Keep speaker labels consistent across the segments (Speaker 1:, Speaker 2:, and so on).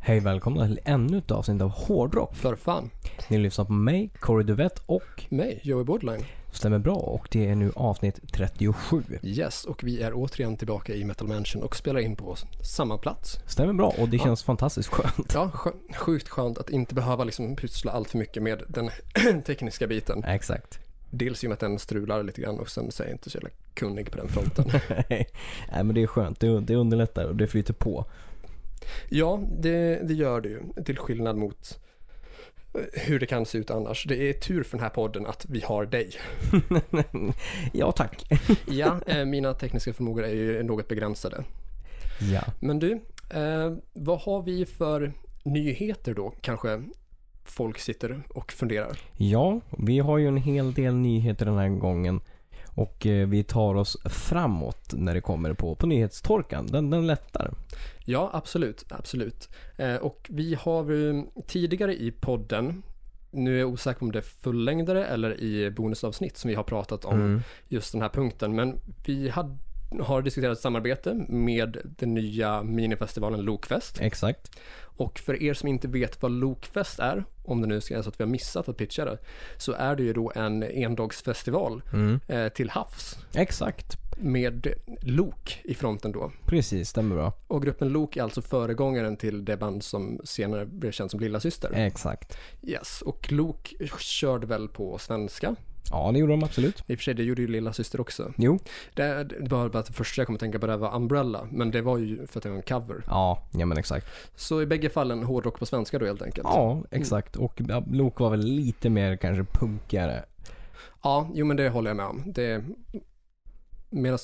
Speaker 1: Hej välkomna till ännu ett avsnitt av Hårdrock.
Speaker 2: För fan.
Speaker 1: Ni lyssnar på mig, Corey Duvett och
Speaker 2: Mig, Joey Bordline.
Speaker 1: Stämmer bra och det är nu avsnitt 37.
Speaker 2: Yes, och vi är återigen tillbaka i Metal Mansion och spelar in på samma plats.
Speaker 1: Stämmer bra och det
Speaker 2: Ja.
Speaker 1: känns fantastiskt skönt.
Speaker 2: Ja, skö- sjukt skönt att inte behöva liksom pyssla allt för mycket med den tekniska biten.
Speaker 1: Exakt.
Speaker 2: Dels i och med att den strular lite grann och sen så är jag inte så jävla kunnig på den fronten.
Speaker 1: Nej men det är skönt, det, det underlättar och det flyter på.
Speaker 2: Ja, det, det gör det ju. Till skillnad mot eh, hur det kan se ut annars. Det är tur för den här podden att vi har dig.
Speaker 1: ja tack.
Speaker 2: Ja, eh, mina tekniska förmågor är ju något begränsade.
Speaker 1: Ja.
Speaker 2: Men du, eh, vad har vi för nyheter då kanske folk sitter och funderar?
Speaker 1: ja, vi har ju en hel del nyheter den här gången. Och eh, vi tar oss framåt när det kommer på, på nyhetstorkan. Den, den lättar.
Speaker 2: Ja, absolut, absolut. Eh, och vi har eh, tidigare i podden, nu är jag osäker om det är fullängdare eller i bonusavsnitt som vi har pratat om just den här punkten, men vi hade har diskuterat samarbete med den nya minifestivalen Lokfest.
Speaker 1: Exakt.
Speaker 2: Och för er som inte vet vad Lokfest är, om det nu ska vara så att vi har missat att pitcha det, så är det ju då en endagsfestival
Speaker 1: Mm.
Speaker 2: eh, till havs
Speaker 1: Exakt.
Speaker 2: med Lok i fronten då.
Speaker 1: Precis, stämmer bra.
Speaker 2: Och gruppen Lok är alltså föregångaren till det band som senare blev känt som Lilla Syster.
Speaker 1: Exakt.
Speaker 2: Yes, och Lok körde väl på svenska.
Speaker 1: Ja, det gjorde de absolut.
Speaker 2: I och för sig, det gjorde ju Lilla Syster också.
Speaker 1: Jo.
Speaker 2: Det, det var bara att det första jag kom att tänka på det här var Umbrella, men det var ju för att det var en cover.
Speaker 1: Ja, ja mm. men exakt.
Speaker 2: Så i bägge fallen hårdrock på svenska då helt enkelt.
Speaker 1: Ja, exakt. Och ja, Luke var väl lite mer kanske punkigare.
Speaker 2: Ja, jo men det håller jag med om. Det Medan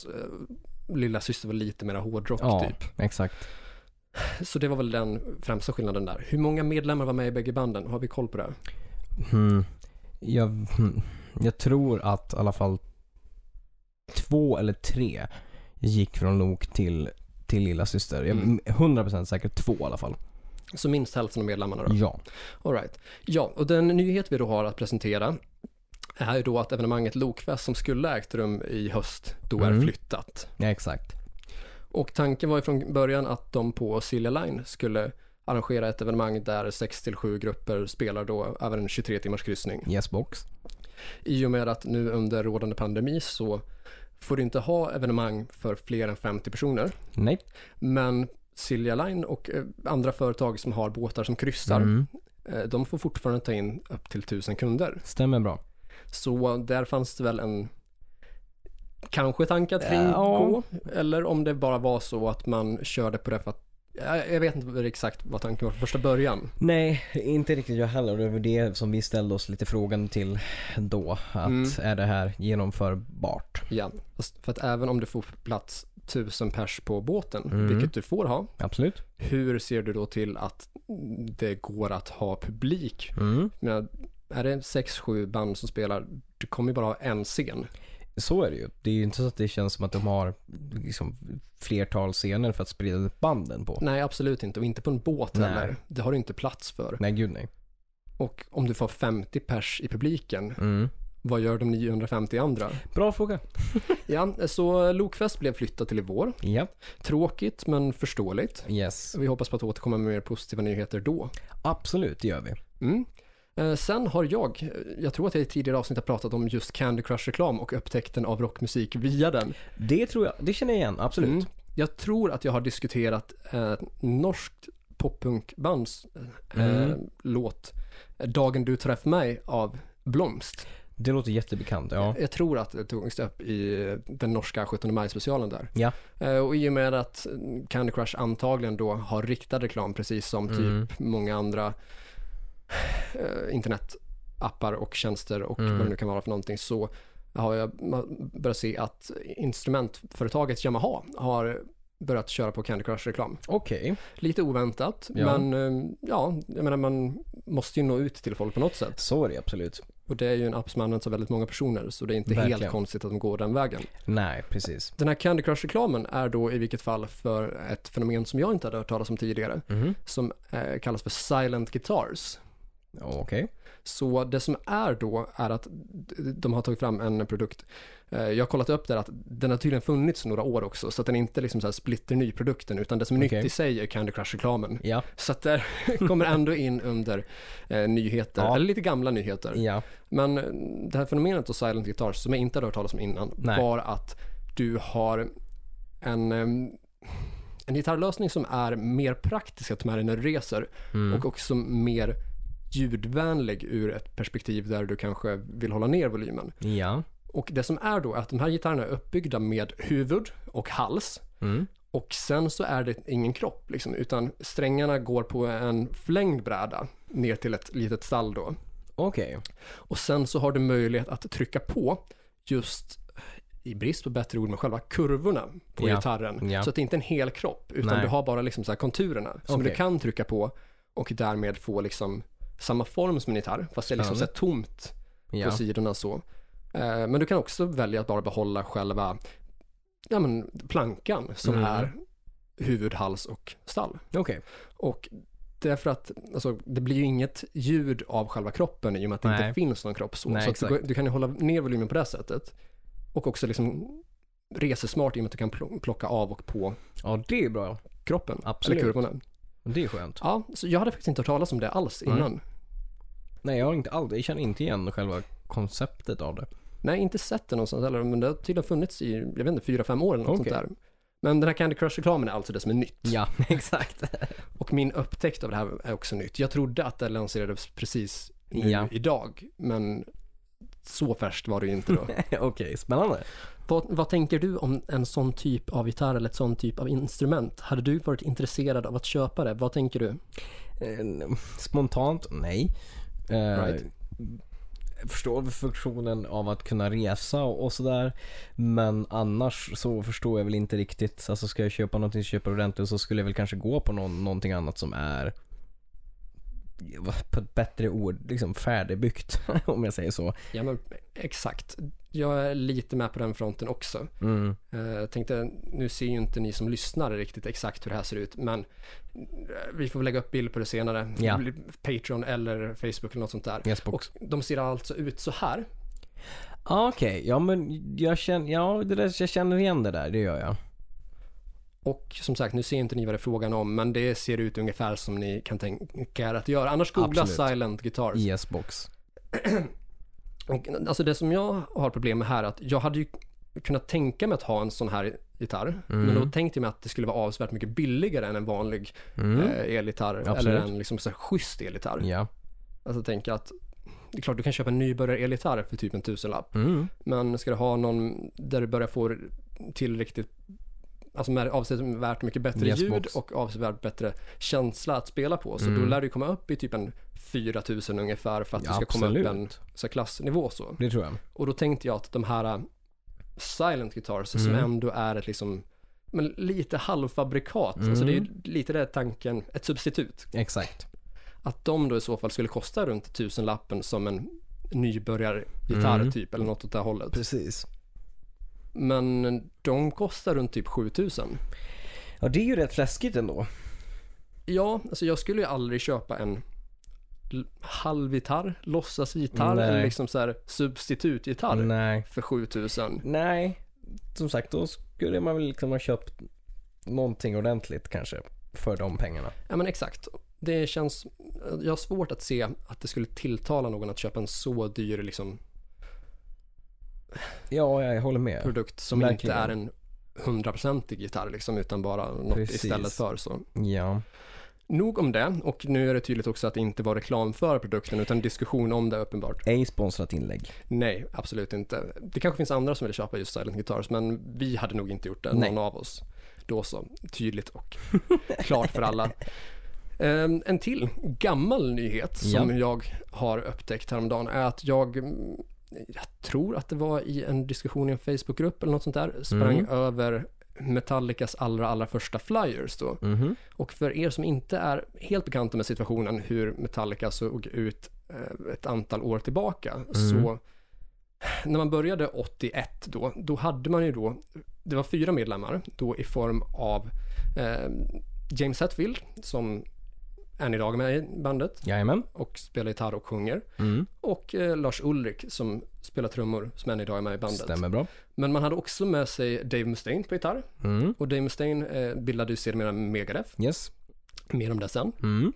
Speaker 2: äh, lilla syster var lite mer hårdrock
Speaker 1: Ja,
Speaker 2: typ.
Speaker 1: exakt.
Speaker 2: Så det var väl den främsta skillnaden där. Hur många medlemmar var med i bägge banden? Har vi koll på det?
Speaker 1: Hmm. Jag, hmm. jag tror att i alla fall två eller tre gick från Luke till, till lilla syster. Jag
Speaker 2: Mm.
Speaker 1: är 100% säker två i alla fall.
Speaker 2: Så minst hälften av medlemmarna då?
Speaker 1: Ja.
Speaker 2: All right. Ja, och den nyhet vi då har att presentera är ju då att evenemanget Lokfest som skulle ägt rum i höst då är
Speaker 1: Mm.
Speaker 2: flyttat.
Speaker 1: ja, exakt.
Speaker 2: Och tanken var ju från början att de på Silja Line skulle arrangera ett evenemang där 6-7 grupper spelar då över en 23 timmars kryssning.
Speaker 1: Yes box.
Speaker 2: I och med att nu under rådande pandemi så får du inte ha evenemang för fler än 50 personer.
Speaker 1: Nej.
Speaker 2: Men Silja Line och eh, andra företag som har båtar som kryssar,
Speaker 1: Mm.
Speaker 2: eh, de får fortfarande ta in upp till 1000 kunder.
Speaker 1: Stämmer bra.
Speaker 2: Så där fanns det väl en kanske tanke att
Speaker 1: Eh,
Speaker 2: kringgå. Eller om det bara var så att man körde på det för att jag jag vet inte exakt vad tanken var från första början.
Speaker 1: Nej, inte riktigt jag heller. Det var det som vi ställde oss lite frågan till då. Att
Speaker 2: Mm.
Speaker 1: är det här genomförbart?
Speaker 2: Ja. För att även om du får plats 1000 pers på båten,
Speaker 1: Mm.
Speaker 2: vilket du får ha,
Speaker 1: Absolut.
Speaker 2: Hur ser du då till att det går att ha publik?
Speaker 1: Mm.
Speaker 2: Jag menar, är det 6-7 band som spelar, du kommer ju bara ha en scen.
Speaker 1: Så är det ju. Det är ju inte så att det känns som att de har liksom, flertal scener för att sprida ut banden på. Nej,
Speaker 2: Nej, absolut inte. Och inte på en båt
Speaker 1: Nej.
Speaker 2: heller. Det har du inte plats för.
Speaker 1: gud nej.
Speaker 2: Och om du får 50 pers i publiken,
Speaker 1: Mm.
Speaker 2: vad gör de 950 andra?
Speaker 1: Bra fråga.
Speaker 2: Ja, så Lokfest blev flyttat till i vår.
Speaker 1: Ja.
Speaker 2: Tråkigt, men förståeligt.
Speaker 1: Yes.
Speaker 2: Vi hoppas på att återkomma med mer positiva nyheter då.
Speaker 1: Absolut, det gör vi.
Speaker 2: Mm. Eh, Sen har jag, jag tror att jag i tidigare avsnitt har pratat om just Candy Crush-reklam och upptäckten av rockmusik via den.
Speaker 1: Det tror jag, det känner jag igen. Absolut.
Speaker 2: Mm. Jag tror att jag har diskuterat eh, norskt poppunkbands eh,
Speaker 1: Mm.
Speaker 2: låt eh, Dagen du träff mig av Blomst.
Speaker 1: Det låter jättebekant. Ja.
Speaker 2: Jag tror att det togs upp i den norska 17 maj-specialen där.
Speaker 1: Ja.
Speaker 2: Eh, och i och med att Candy Crush antagligen då har riktad reklam precis som
Speaker 1: Mm.
Speaker 2: typ många andra eh, internetappar och tjänster och
Speaker 1: Mm.
Speaker 2: vad det nu kan vara för någonting så har jag ma- börjat se att instrumentföretaget Yamaha har börjat köra på Candy Crush-reklam.
Speaker 1: Okej.
Speaker 2: Lite oväntat,
Speaker 1: Ja.
Speaker 2: men eh, ja, jag menar man måste ju nå ut till folk på något sätt.
Speaker 1: Så är det absolut.
Speaker 2: Och det är ju en app som används av väldigt många personer, så det är inte helt
Speaker 1: Verkligen.
Speaker 2: konstigt att de går den vägen.
Speaker 1: Nej, precis.
Speaker 2: Den här Candy Crush-reklamen är då i vilket fall för ett fenomen som jag inte hade hört talas om tidigare,
Speaker 1: Mhm.
Speaker 2: som eh, kallas för silent guitars.
Speaker 1: Okej.
Speaker 2: Så det som är då är att de har tagit fram en produkt. Eh, Jag har kollat upp där att den har tydligen funnits några år också, så att den är inte liksom så här splitterny produkten, utan det som är
Speaker 1: Okej.
Speaker 2: nytt i sig är Candy Crush-reklamen.
Speaker 1: Ja.
Speaker 2: Så att där kommer ändå in under eh, nyheter,
Speaker 1: Ja.
Speaker 2: eller lite gamla nyheter.
Speaker 1: Ja.
Speaker 2: Men eh, det här fenomenet då silent guitars som jag inte hade hört talas om innan
Speaker 1: Nej.
Speaker 2: var att du har en, eh, en gitarrlösning som är mer praktisk att ta med dig när du reser
Speaker 1: Mm.
Speaker 2: och också mer ljudvänlig ur ett perspektiv där du kanske vill hålla ner volymen.
Speaker 1: Ja.
Speaker 2: Och det som är då är att de här gitarrerna är uppbyggda med huvud och hals
Speaker 1: Mm.
Speaker 2: och sen så är det ingen kropp liksom, utan strängarna går på en förlängd bräda ner till ett litet stall då.
Speaker 1: Okej.
Speaker 2: Och sen så har du möjlighet att trycka på just i brist på bättre ord, men själva kurvorna på
Speaker 1: Ja.
Speaker 2: gitarren.
Speaker 1: Ja.
Speaker 2: Så att det är inte en hel kropp, utan
Speaker 1: Nej.
Speaker 2: du har bara liksom så här konturerna som
Speaker 1: Okej.
Speaker 2: du kan trycka på och därmed få liksom samma form som en gitarr, fast det är liksom så här tomt på
Speaker 1: Ja.
Speaker 2: sidorna så. Eh, Men du kan också välja att bara behålla själva ja, men, plankan som
Speaker 1: Mm.
Speaker 2: är huvud, hals och stall.
Speaker 1: Okej.
Speaker 2: Och därför att alltså, det blir ju inget ljud av själva kroppen i och med att det
Speaker 1: Nej.
Speaker 2: inte finns någon kropp så.
Speaker 1: Nej,
Speaker 2: så att du,
Speaker 1: exakt.
Speaker 2: går- du kan ju hålla ner volymen på det sättet. Och också liksom resesmart i och med att du kan pl- plocka av och på
Speaker 1: Ja, det är bra.
Speaker 2: kroppen.
Speaker 1: Absolut.
Speaker 2: Eller kurvorna.
Speaker 1: Det är skönt.
Speaker 2: Ja, så jag hade faktiskt inte hört talas om det alls
Speaker 1: Nej.
Speaker 2: innan.
Speaker 1: Nej, jag har inte alls, jag känner inte igen själva konceptet av det.
Speaker 2: Nej, inte sett det någonstans heller, men det har tydligen funnits i, jag vet inte, fyra, fem år eller något
Speaker 1: Okej.
Speaker 2: sånt där. Men den här Candy Crush-reklamen är alltså det som är nytt.
Speaker 1: Ja, exakt.
Speaker 2: Och min upptäckt av det här är också nytt. Jag trodde att det lanserades precis nu
Speaker 1: Ja.
Speaker 2: idag, men så färskt var det ju inte då.
Speaker 1: Okej, spännande.
Speaker 2: Vad, vad tänker du om en sån typ av gitarr eller ett sån typ av instrument? Hade du varit intresserad av att köpa det? Vad tänker du?
Speaker 1: Eh, Spontant, nej. Eh,
Speaker 2: Right.
Speaker 1: Jag förstår funktionen av att kunna resa och, och sådär. Men annars så förstår jag väl inte riktigt. Alltså ska jag köpa någonting så köper jag ordentligt och så skulle jag väl kanske gå på någon, någonting annat som är vad- på ett bättre ord, liksom färdigbyggt om jag säger så.
Speaker 2: Ja, men exakt. Jag är lite med på den fronten också.
Speaker 1: Mm.
Speaker 2: Eh, Jag tänkte, nu ser ju inte ni som lyssnar riktigt exakt hur det här ser ut, men eh, vi får väl lägga upp bild på det senare.
Speaker 1: Ja.
Speaker 2: Patreon eller Facebook eller något sånt där.
Speaker 1: Yes, box.
Speaker 2: Och de ser alltså ut så här.
Speaker 1: Ah, Okej, ja men jag känner, ja, det där, jag känner igen det där, det gör jag.
Speaker 2: Och som sagt, nu ser inte ni vad det är frågan om, men det ser ut ungefär som ni kan tänka er att göra. Annars googla
Speaker 1: Absolut.
Speaker 2: silent guitars.
Speaker 1: Yes box.
Speaker 2: Och, alltså det som jag har problem med här är att jag hade ju kunnat tänka mig att ha en sån här gitarr.
Speaker 1: Mm.
Speaker 2: Men då tänkte jag mig att det skulle vara avsevärt mycket billigare än en vanlig
Speaker 1: Mm.
Speaker 2: eh, elgitarr. Eller
Speaker 1: Absolut.
Speaker 2: en liksom så här schysst elgitarr.
Speaker 1: Ja.
Speaker 2: Alltså tänka att det är klart du kan köpa en nybörjar-elgitarr för typ en tusenlapp.
Speaker 1: Mm.
Speaker 2: Men ska du ha någon där du börjar få till riktigt Alltså med avsevärt mycket bättre
Speaker 1: Yes,
Speaker 2: ljud
Speaker 1: box.
Speaker 2: och avsevärt bättre känsla att spela på. Så då
Speaker 1: Mm.
Speaker 2: lär du komma upp i typ en 4000 ungefär för att du ska
Speaker 1: Absolut.
Speaker 2: komma upp en så här, klassnivå så.
Speaker 1: Det tror jag.
Speaker 2: Och då tänkte jag att de här äh, silent guitars som
Speaker 1: Mm.
Speaker 2: ändå är ett liksom, men lite halvfabrikat,
Speaker 1: Mm.
Speaker 2: alltså det är ju lite det tanken, ett substitut.
Speaker 1: Exakt.
Speaker 2: Att de då i så fall skulle kosta runt tusenlappen som en nybörjargitarr
Speaker 1: Mm.
Speaker 2: typ eller något åt det här hållet.
Speaker 1: Precis.
Speaker 2: Men de kostar runt typ 7000.
Speaker 1: Ja det är ju rätt läskigt ändå.
Speaker 2: Ja, alltså jag skulle ju aldrig köpa en l- halvgitarr, låtsasgitarr
Speaker 1: Nej.
Speaker 2: eller liksom så här substitutgitarr
Speaker 1: Nej.
Speaker 2: för 7000.
Speaker 1: Nej. Som sagt, då skulle man väl liksom ha köpt någonting ordentligt kanske. För de pengarna.
Speaker 2: Ja men exakt. Det känns, jag har svårt att se att det skulle tilltala någon att köpa en så dyr liksom,
Speaker 1: Ja, jag håller med.
Speaker 2: produkt som
Speaker 1: verkligen.
Speaker 2: inte är en hundraprocentig gitarr liksom, utan bara något
Speaker 1: Precis.
Speaker 2: istället för. Så.
Speaker 1: Ja.
Speaker 2: Nog om det, och nu är det tydligt också att det inte var reklam för produkten utan diskussion om det uppenbart.
Speaker 1: Ej sponsrat inlägg.
Speaker 2: Nej, absolut inte. Det kanske finns andra som vill köpa just Silent Guitars, men vi hade nog inte gjort det,
Speaker 1: Nej.
Speaker 2: någon av oss. Då så, tydligt och klart för alla. Ehm, En till gammal nyhet som jag har upptäckt häromdagen är att jag, mm, jag tror att det var i en diskussion i en Facebookgrupp eller något sånt där, sprang
Speaker 1: Mm.
Speaker 2: över Metallicas allra, allra första flyers då.
Speaker 1: Mhm.
Speaker 2: Och för er som inte är helt bekanta med situationen hur Metallica såg ut eh, ett antal år tillbaka, så när man började 81 då, då hade man ju då, det var fyra medlemmar då i form av eh, James Hetfield som än idag med i bandet
Speaker 1: Jajamän.
Speaker 2: och spelar gitarr och sjunger.
Speaker 1: Mm.
Speaker 2: Och eh, Lars Ulrik som spelar trummor som än idag är med i bandet.
Speaker 1: Stämmer bra.
Speaker 2: Men man hade också med sig Dave Mustaine på gitarr
Speaker 1: Mm.
Speaker 2: och Dave Mustaine eh, bildade ju sedermera Megadeth.
Speaker 1: Yes.
Speaker 2: Mer om det sen.
Speaker 1: Mm.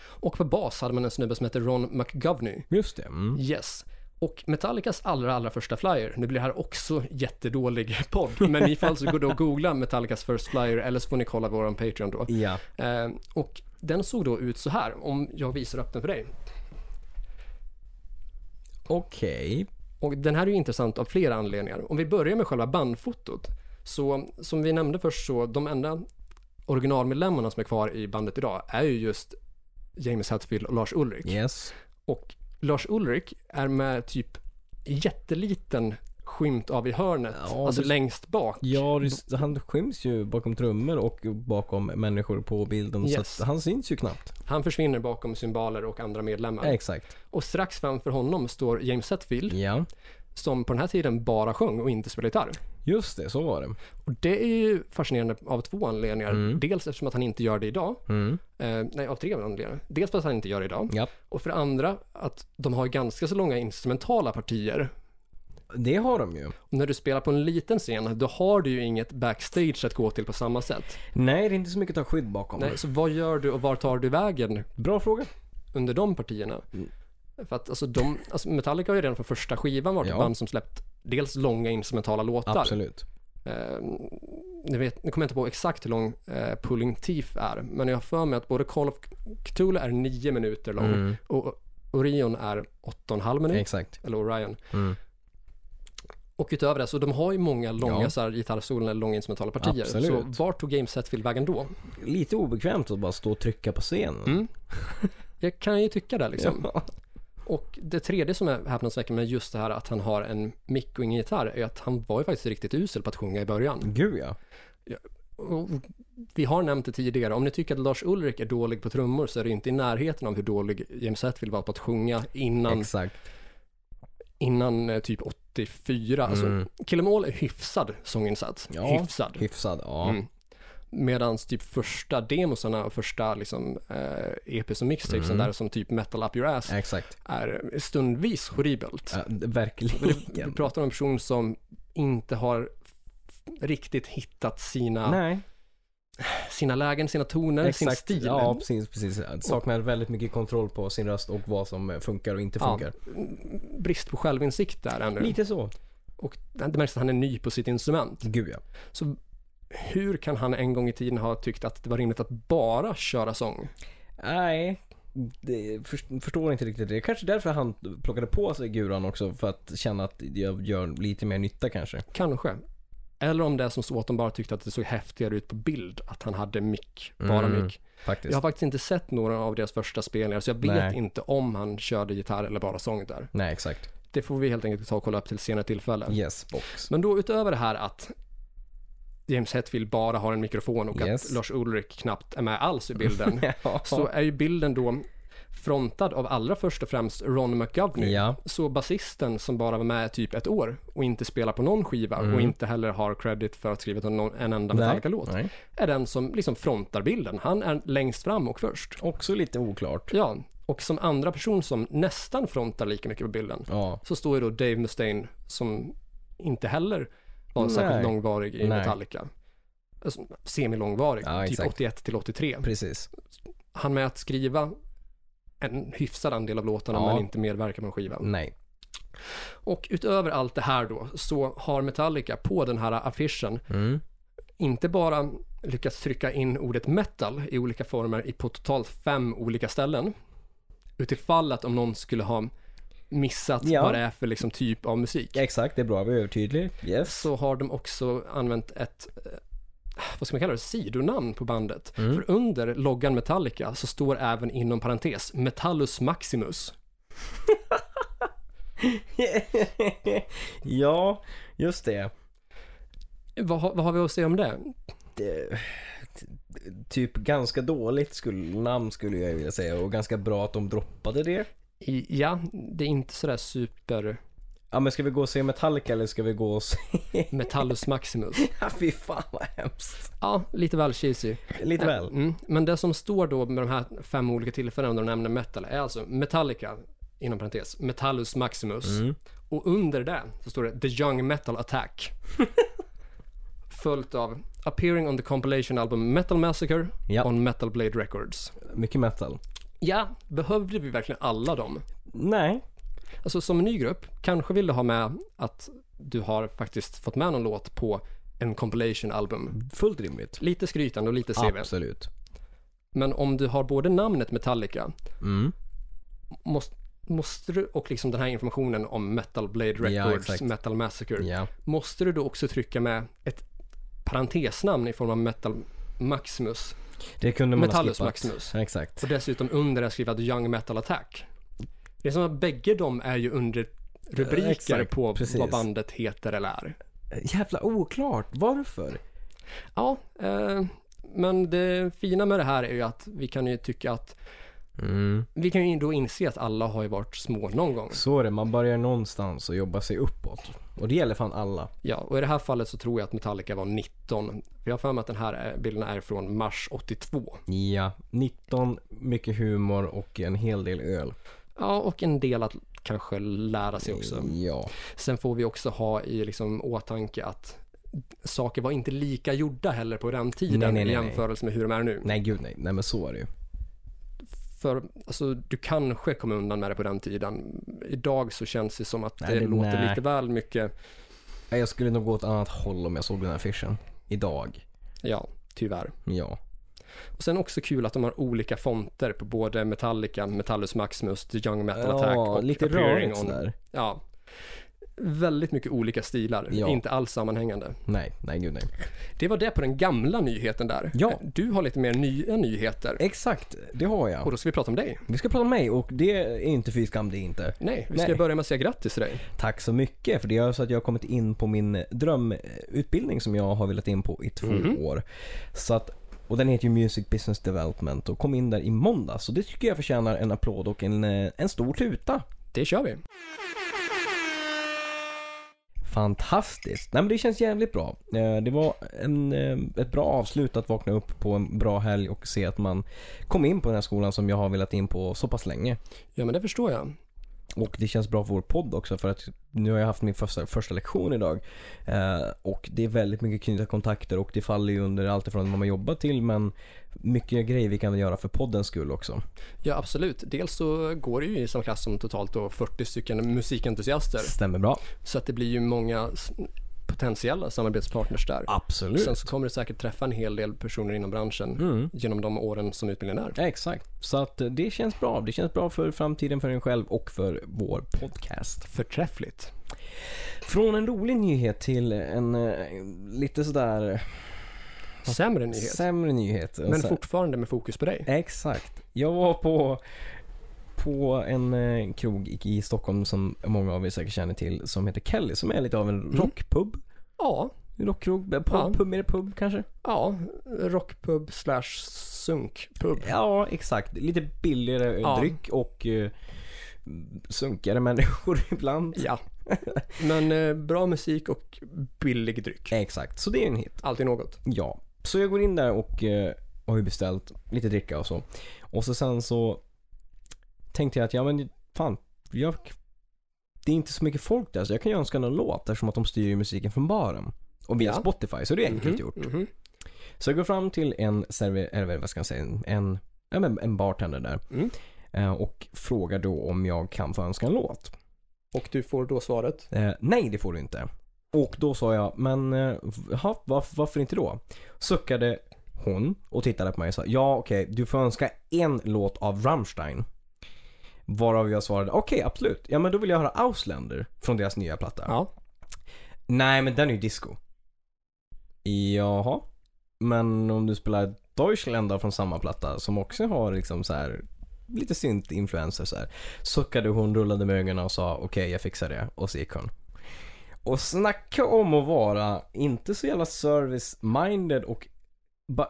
Speaker 2: Och på bas hade man en snubbe som heter Ron McGovney.
Speaker 1: Just det. Mm.
Speaker 2: Yes. Och Metallicas allra, allra första flyer, nu blir det här också jättedålig podd, men ni får alltså gå då och googla Metallicas first flyer eller så får ni kolla våran Patreon då.
Speaker 1: Ja.
Speaker 2: Eh, och den såg då ut så här, om jag visar upp den för dig.
Speaker 1: Okej.
Speaker 2: Och den här är ju intressant av flera anledningar. Om vi börjar med själva bandfotot, så som vi nämnde först så, de enda originalmedlemmarna som är kvar i bandet idag är ju just James Hetfield och Lars Ulrik.
Speaker 1: Yes.
Speaker 2: Och Lars Ulrik är med typ jätteliten skymt av i hörnet,
Speaker 1: Ja,
Speaker 2: alltså
Speaker 1: det-
Speaker 2: längst bak.
Speaker 1: Ja, det- han skyms ju bakom trummor och bakom människor på bilden.
Speaker 2: Yes.
Speaker 1: Så att han syns ju knappt.
Speaker 2: Han försvinner bakom symboler och andra medlemmar.
Speaker 1: Exakt.
Speaker 2: Och strax framför honom står James Hetfield,
Speaker 1: Ja.
Speaker 2: som på den här tiden bara sjöng och inte spelade gitarr.
Speaker 1: Just det, så var det.
Speaker 2: Och det är ju fascinerande av två anledningar.
Speaker 1: Mm.
Speaker 2: Dels eftersom att han inte gör det idag.
Speaker 1: Mm.
Speaker 2: Eh, nej, av tre anledningar. Dels för att han inte gör det idag.
Speaker 1: Ja.
Speaker 2: Och för det andra att de har ganska så långa instrumentala partier.
Speaker 1: Det har de ju.
Speaker 2: Och när du spelar på en liten scen, då har du ju inget backstage att gå till på samma sätt.
Speaker 1: Nej, det är inte så mycket att ta skydd bakom.
Speaker 2: Nej, så vad gör du och var tar du vägen
Speaker 1: Bra fråga.
Speaker 2: under de partierna?
Speaker 1: Mm.
Speaker 2: För att alltså, de, alltså Metallica har ju redan från första skivan varit ett
Speaker 1: Ja.
Speaker 2: band som släppt dels långa instrumentala låtar.
Speaker 1: Absolut.
Speaker 2: Eh, nu, vet, nu kommer jag inte på exakt hur lång eh, Pulling Teeth är, men jag har för mig att både Call of Cthulhu är nio minuter lång
Speaker 1: Mm.
Speaker 2: och Orion är åtta och en halv minut,
Speaker 1: Exakt.
Speaker 2: eller Orion.
Speaker 1: Mm.
Speaker 2: Och utöver det, så de har ju många långa
Speaker 1: Ja.
Speaker 2: ja. gitarrsolon eller långa instrumentala partier.
Speaker 1: Absolut.
Speaker 2: Så var tog James Hetfield vägen då?
Speaker 1: Lite obekvämt att bara stå och trycka på scenen.
Speaker 2: Mm. Jag kan ju tycka det liksom.
Speaker 1: Ja.
Speaker 2: Och det tredje som är häpnadsväckande med just det här att han har en mick och ingen gitarr är att han var ju faktiskt riktigt usel på att sjunga i början.
Speaker 1: Gud ja.
Speaker 2: Och vi har nämnt det tidigare, om ni tycker att Lars Ulrik är dålig på trummor så är det ju inte i närheten av hur dålig James Hetfield var på att sjunga innan,
Speaker 1: Exakt.
Speaker 2: innan eh, typ 84.
Speaker 1: Mm.
Speaker 2: Alltså, Kill 'Em All är hyfsad sånginsats.
Speaker 1: Ja.
Speaker 2: Hyfsad.
Speaker 1: Hyfsad. Ja.
Speaker 2: Mm. Medan typ första demosarna och första liksom, eh, EPs och mixtapesen
Speaker 1: Mm.
Speaker 2: där som typ Metal Up Your Ass
Speaker 1: Exakt.
Speaker 2: är stundvis horribelt.
Speaker 1: Ja, d-
Speaker 2: Men du,
Speaker 1: verkligen.
Speaker 2: du pratar om en person som inte har f- riktigt hittat sina,
Speaker 1: Nej,
Speaker 2: sina lägen, sina toner, sin
Speaker 1: exakt.
Speaker 2: stil.
Speaker 1: Ja, precis, precis. Saknar väldigt mycket kontroll på sin röst och vad som eh, funkar och inte
Speaker 2: Ja,
Speaker 1: funkar.
Speaker 2: brist på självinsikt där ännu.
Speaker 1: Lite så.
Speaker 2: Och det märks att han är ny på sitt instrument.
Speaker 1: Gud ja.
Speaker 2: Så hur kan han en gång i tiden ha tyckt att det var rimligt att bara köra sång?
Speaker 1: Nej, det, för, förstår inte riktigt det. Kanske därför han plockade på sig guran också för att känna att jag gör lite mer nytta kanske.
Speaker 2: Kanske. Eller om det är som så att de bara tyckte att det såg häftigare ut på bild, att han hade mick, bara
Speaker 1: Mm,
Speaker 2: mick.
Speaker 1: Faktiskt.
Speaker 2: Jag har faktiskt inte sett några av deras första spelningar, så jag vet
Speaker 1: Nej.
Speaker 2: inte om han körde gitarr eller bara sång där.
Speaker 1: Nej, exakt.
Speaker 2: Det får vi helt enkelt ta och kolla upp till senare tillfälle.
Speaker 1: Yes, box.
Speaker 2: Men då utöver det här att James Hetfield bara har en mikrofon och
Speaker 1: Yes.
Speaker 2: att Lars Ulrik knappt är med alls i bilden,
Speaker 1: Ja.
Speaker 2: så är ju bilden då frontad av allra först och främst Ron McGovney.
Speaker 1: Ja.
Speaker 2: Så basisten som bara var med typ ett år och inte spelar på någon skiva och inte heller har credit för att skriva någon, en enda Metallica-låt,
Speaker 1: Mm. Nej.
Speaker 2: är den som liksom frontar bilden. Han är längst fram och först.
Speaker 1: Också lite oklart.
Speaker 2: Ja, och som andra person som nästan frontar lika mycket på bilden
Speaker 1: Ja.
Speaker 2: så står ju då Dave Mustaine som inte heller var
Speaker 1: Nej.
Speaker 2: särskilt långvarig i
Speaker 1: Nej.
Speaker 2: Metallica. Alltså, semilångvarig,
Speaker 1: Ja,
Speaker 2: typ
Speaker 1: exakt.
Speaker 2: 81 till 83.
Speaker 1: Precis.
Speaker 2: Han med att skriva en hyfsad andel av låtarna
Speaker 1: Ja. Mm.
Speaker 2: men inte medverka på skivan.
Speaker 1: Nej.
Speaker 2: Och utöver allt det här då så har Metallica på den här affischen
Speaker 1: Mm.
Speaker 2: inte bara lyckats trycka in ordet metal i olika former i på totalt fem olika ställen. Utifall att om någon skulle ha missat
Speaker 1: Ja.
Speaker 2: vad det är för liksom typ av musik.
Speaker 1: Exakt, det är bra. Vi är övertydlig. Yes.
Speaker 2: så har de också använt ett, eh, vad ska man kalla det, sidonamn på bandet.
Speaker 1: Mm.
Speaker 2: För under loggan Metallica så står även inom parentes Metallus Maximus.
Speaker 1: ja, just det.
Speaker 2: Vad, har- vad har vi att säga om det?
Speaker 1: det. Typ ganska dåligt skulle, namn skulle jag vilja säga och ganska bra att de droppade det.
Speaker 2: I, ja, det är inte sådär super
Speaker 1: ja men ska vi gå och se Metallica eller ska vi gå och se...
Speaker 2: Metallus Maximus.
Speaker 1: Ja, fy fan vad hemskt.
Speaker 2: Ja, lite väl cheesy.
Speaker 1: Lite väl.
Speaker 2: Mm. Men det som står då med de här fem olika tillfällena när de nämner metal är alltså Metallica, inom parentes, Metallus Maximus.
Speaker 1: Mm.
Speaker 2: Och under det så står det The Young Metal Attack. Följt av Appearing on the compilation album Metal Massacre
Speaker 1: Ja.
Speaker 2: on Metal Blade Records.
Speaker 1: Mycket metal.
Speaker 2: Ja, behövde vi verkligen alla dem?
Speaker 1: Nej.
Speaker 2: Alltså som ny grupp, kanske vill du ha med att du har faktiskt fått med någon låt på en compilation album.
Speaker 1: Fullt rimligt.
Speaker 2: Lite skrytande och lite CV.
Speaker 1: Mm. Absolut.
Speaker 2: Men om du har både namnet Metallica
Speaker 1: Mm.
Speaker 2: måste, måste du, och liksom den här informationen om Metal Blade Records,
Speaker 1: exakt.
Speaker 2: Metal Massacre,
Speaker 1: Ja.
Speaker 2: måste du då också trycka med ett parentesnamn i form av Metal Maximus
Speaker 1: Det kunde man
Speaker 2: Metallus
Speaker 1: ha skippat.
Speaker 2: Maximus.
Speaker 1: Exakt.
Speaker 2: och dessutom under det skriva The Young Metal Attack. Det är som att bägge de är ju under rubriker
Speaker 1: Eh, exakt,
Speaker 2: på
Speaker 1: precis.
Speaker 2: vad bandet heter eller är.
Speaker 1: Jävla oklart. Varför?
Speaker 2: Ja, eh, men det fina med det här är ju att vi kan ju tycka att
Speaker 1: Mm.
Speaker 2: vi kan ju då inse att alla har ju varit små någon gång.
Speaker 1: Så är det. Man börjar någonstans och jobbar sig uppåt. Och det gäller fan alla.
Speaker 2: Ja, och i det här fallet så tror jag att Metallica var 19. För jag har för mig att den här är- bilden är från mars 82.
Speaker 1: Ja. 19, mycket humor och en hel del öl.
Speaker 2: Ja, och en del att kanske lära sig också.
Speaker 1: Ja.
Speaker 2: Sen får vi också ha i liksom åtanke att saker var inte lika gjorda heller på den tiden
Speaker 1: Nej, nej, nej,
Speaker 2: i
Speaker 1: nej.
Speaker 2: jämförelse med hur de är nu.
Speaker 1: Nej, gud nej. Nej, men så är det ju.
Speaker 2: För alltså, du kanske kom undan med det på den tiden. Idag så känns det som att
Speaker 1: Nej,
Speaker 2: det,
Speaker 1: det-
Speaker 2: låter
Speaker 1: nej.
Speaker 2: lite väl mycket,
Speaker 1: Nej, Jag skulle nog gå åt annat håll om jag såg den här affischen. Idag.
Speaker 2: ja, tyvärr.
Speaker 1: Ja.
Speaker 2: Och sen också kul att de har olika fonter på både Metallica, Metallus Maximus, The Young Metal Attack
Speaker 1: Ja,
Speaker 2: och
Speaker 1: lite
Speaker 2: Appearing
Speaker 1: rörigt
Speaker 2: on-
Speaker 1: sådär.
Speaker 2: Ja. Väldigt mycket olika stilar,
Speaker 1: Ja.
Speaker 2: inte alls sammanhängande.
Speaker 1: Nej, nej gud nej.
Speaker 2: Det var det på den gamla nyheten där.
Speaker 1: Ja. Eh.
Speaker 2: Du har lite mer nya nyheter.
Speaker 1: Exakt, det har
Speaker 2: Och
Speaker 1: jag.
Speaker 2: då ska vi prata om dig.
Speaker 1: Vi ska prata om mig och det är inte fy skam det är inte.
Speaker 2: Nej, vi ska
Speaker 1: Nej.
Speaker 2: börja med att säga grattis till dig.
Speaker 1: Tack så mycket för det gör så att jag har kommit in på min drömutbildning som jag har velat in på i två år. Så att, och den heter ju Music Business Development och kom in där i måndag så det tycker jag förtjänar en applåd och en, eh, en stor tuta.
Speaker 2: Det kör vi.
Speaker 1: Fantastiskt. Nej men det känns jävligt bra. Eh, Det var en, eh, ett bra avslut att vakna upp på en bra helg och se att man kom in på den här skolan som jag har velat in på så pass länge.
Speaker 2: Ja, men det förstår jag.
Speaker 1: Och det känns bra för vår podd också för att nu har jag haft min första, första lektion idag. Eh, och det är väldigt mycket knyta kontakter och det faller ju under allt ifrån vad man jobbar till men mycket grejer vi kan göra för poddens skull också.
Speaker 2: Ja, absolut. Dels så går det ju i samma klass som totalt då 40 stycken musikentusiaster.
Speaker 1: Stämmer bra.
Speaker 2: Så att det blir ju många s- potentiella samarbetspartners där.
Speaker 1: Absolut. Mm.
Speaker 2: Sen så kommer du säkert träffa en hel del personer inom branschen genom de åren som utbildningen är.
Speaker 1: Ja, Exakt. Så att eh, det känns bra. Det känns bra för framtiden för en själv och för vår podcast.
Speaker 2: Förträffligt.
Speaker 1: Från en rolig nyhet till en eh, lite sådär
Speaker 2: Sämre nyhet.
Speaker 1: sämre nyhet.
Speaker 2: Men
Speaker 1: Så-
Speaker 2: fortfarande med fokus på dig.
Speaker 1: Exakt. Jag var på, på en eh, krog i- i Stockholm som många av er säkert känner till som heter Kelly som är lite av en rockpub.
Speaker 2: Ja,
Speaker 1: Rockkrog, eh, pub,
Speaker 2: Mm. Ja.
Speaker 1: pub, mer pub kanske?
Speaker 2: ja. rockpub slash sunkpub.
Speaker 1: Ja, exakt. Lite billigare
Speaker 2: Ja.
Speaker 1: dryck och eh, sunkigare människor ibland.
Speaker 2: Ja. Men eh, bra musik och billig dryck.
Speaker 1: Exakt, så det är en hit.
Speaker 2: Alltid något.
Speaker 1: Ja, så jag går in där och eh, har ju beställt lite dricka och så. Och så sen så tänkte jag att ja men fan, jag, det är inte så mycket folk där så jag kan ju önska någon låt eftersom att de styr ju musiken från baren. Och via
Speaker 2: Ja.
Speaker 1: Spotify, så det är enkelt
Speaker 2: Mhm,
Speaker 1: gjort.
Speaker 2: mhm.
Speaker 1: Så jag går fram till en server, eller vad ska jag säga, en- en, ja, men en bartender där.
Speaker 2: Mm.
Speaker 1: Eh, Och frågar då om jag kan få önska en låt.
Speaker 2: Och du får då svaret.
Speaker 1: Eh, nej, det får du inte. Och då sa jag, men eh, ha, varför, varför inte då? Suckade hon och tittade på mig och sa, ja okej, du får önska en låt av Rammstein. Varav jag svarade, okej absolut, ja men då vill jag höra Ausländer från deras nya platta.
Speaker 2: Ja.
Speaker 1: Nej men den är ju disco. Jaha. Men om du spelar Deutschland då från samma platta som också har liksom så här lite synt-influenser så här. Suckade hon, rullade med ögonen och sa okej jag fixar det och så gick hon. Och snacka om att vara inte så jävla service-minded och bara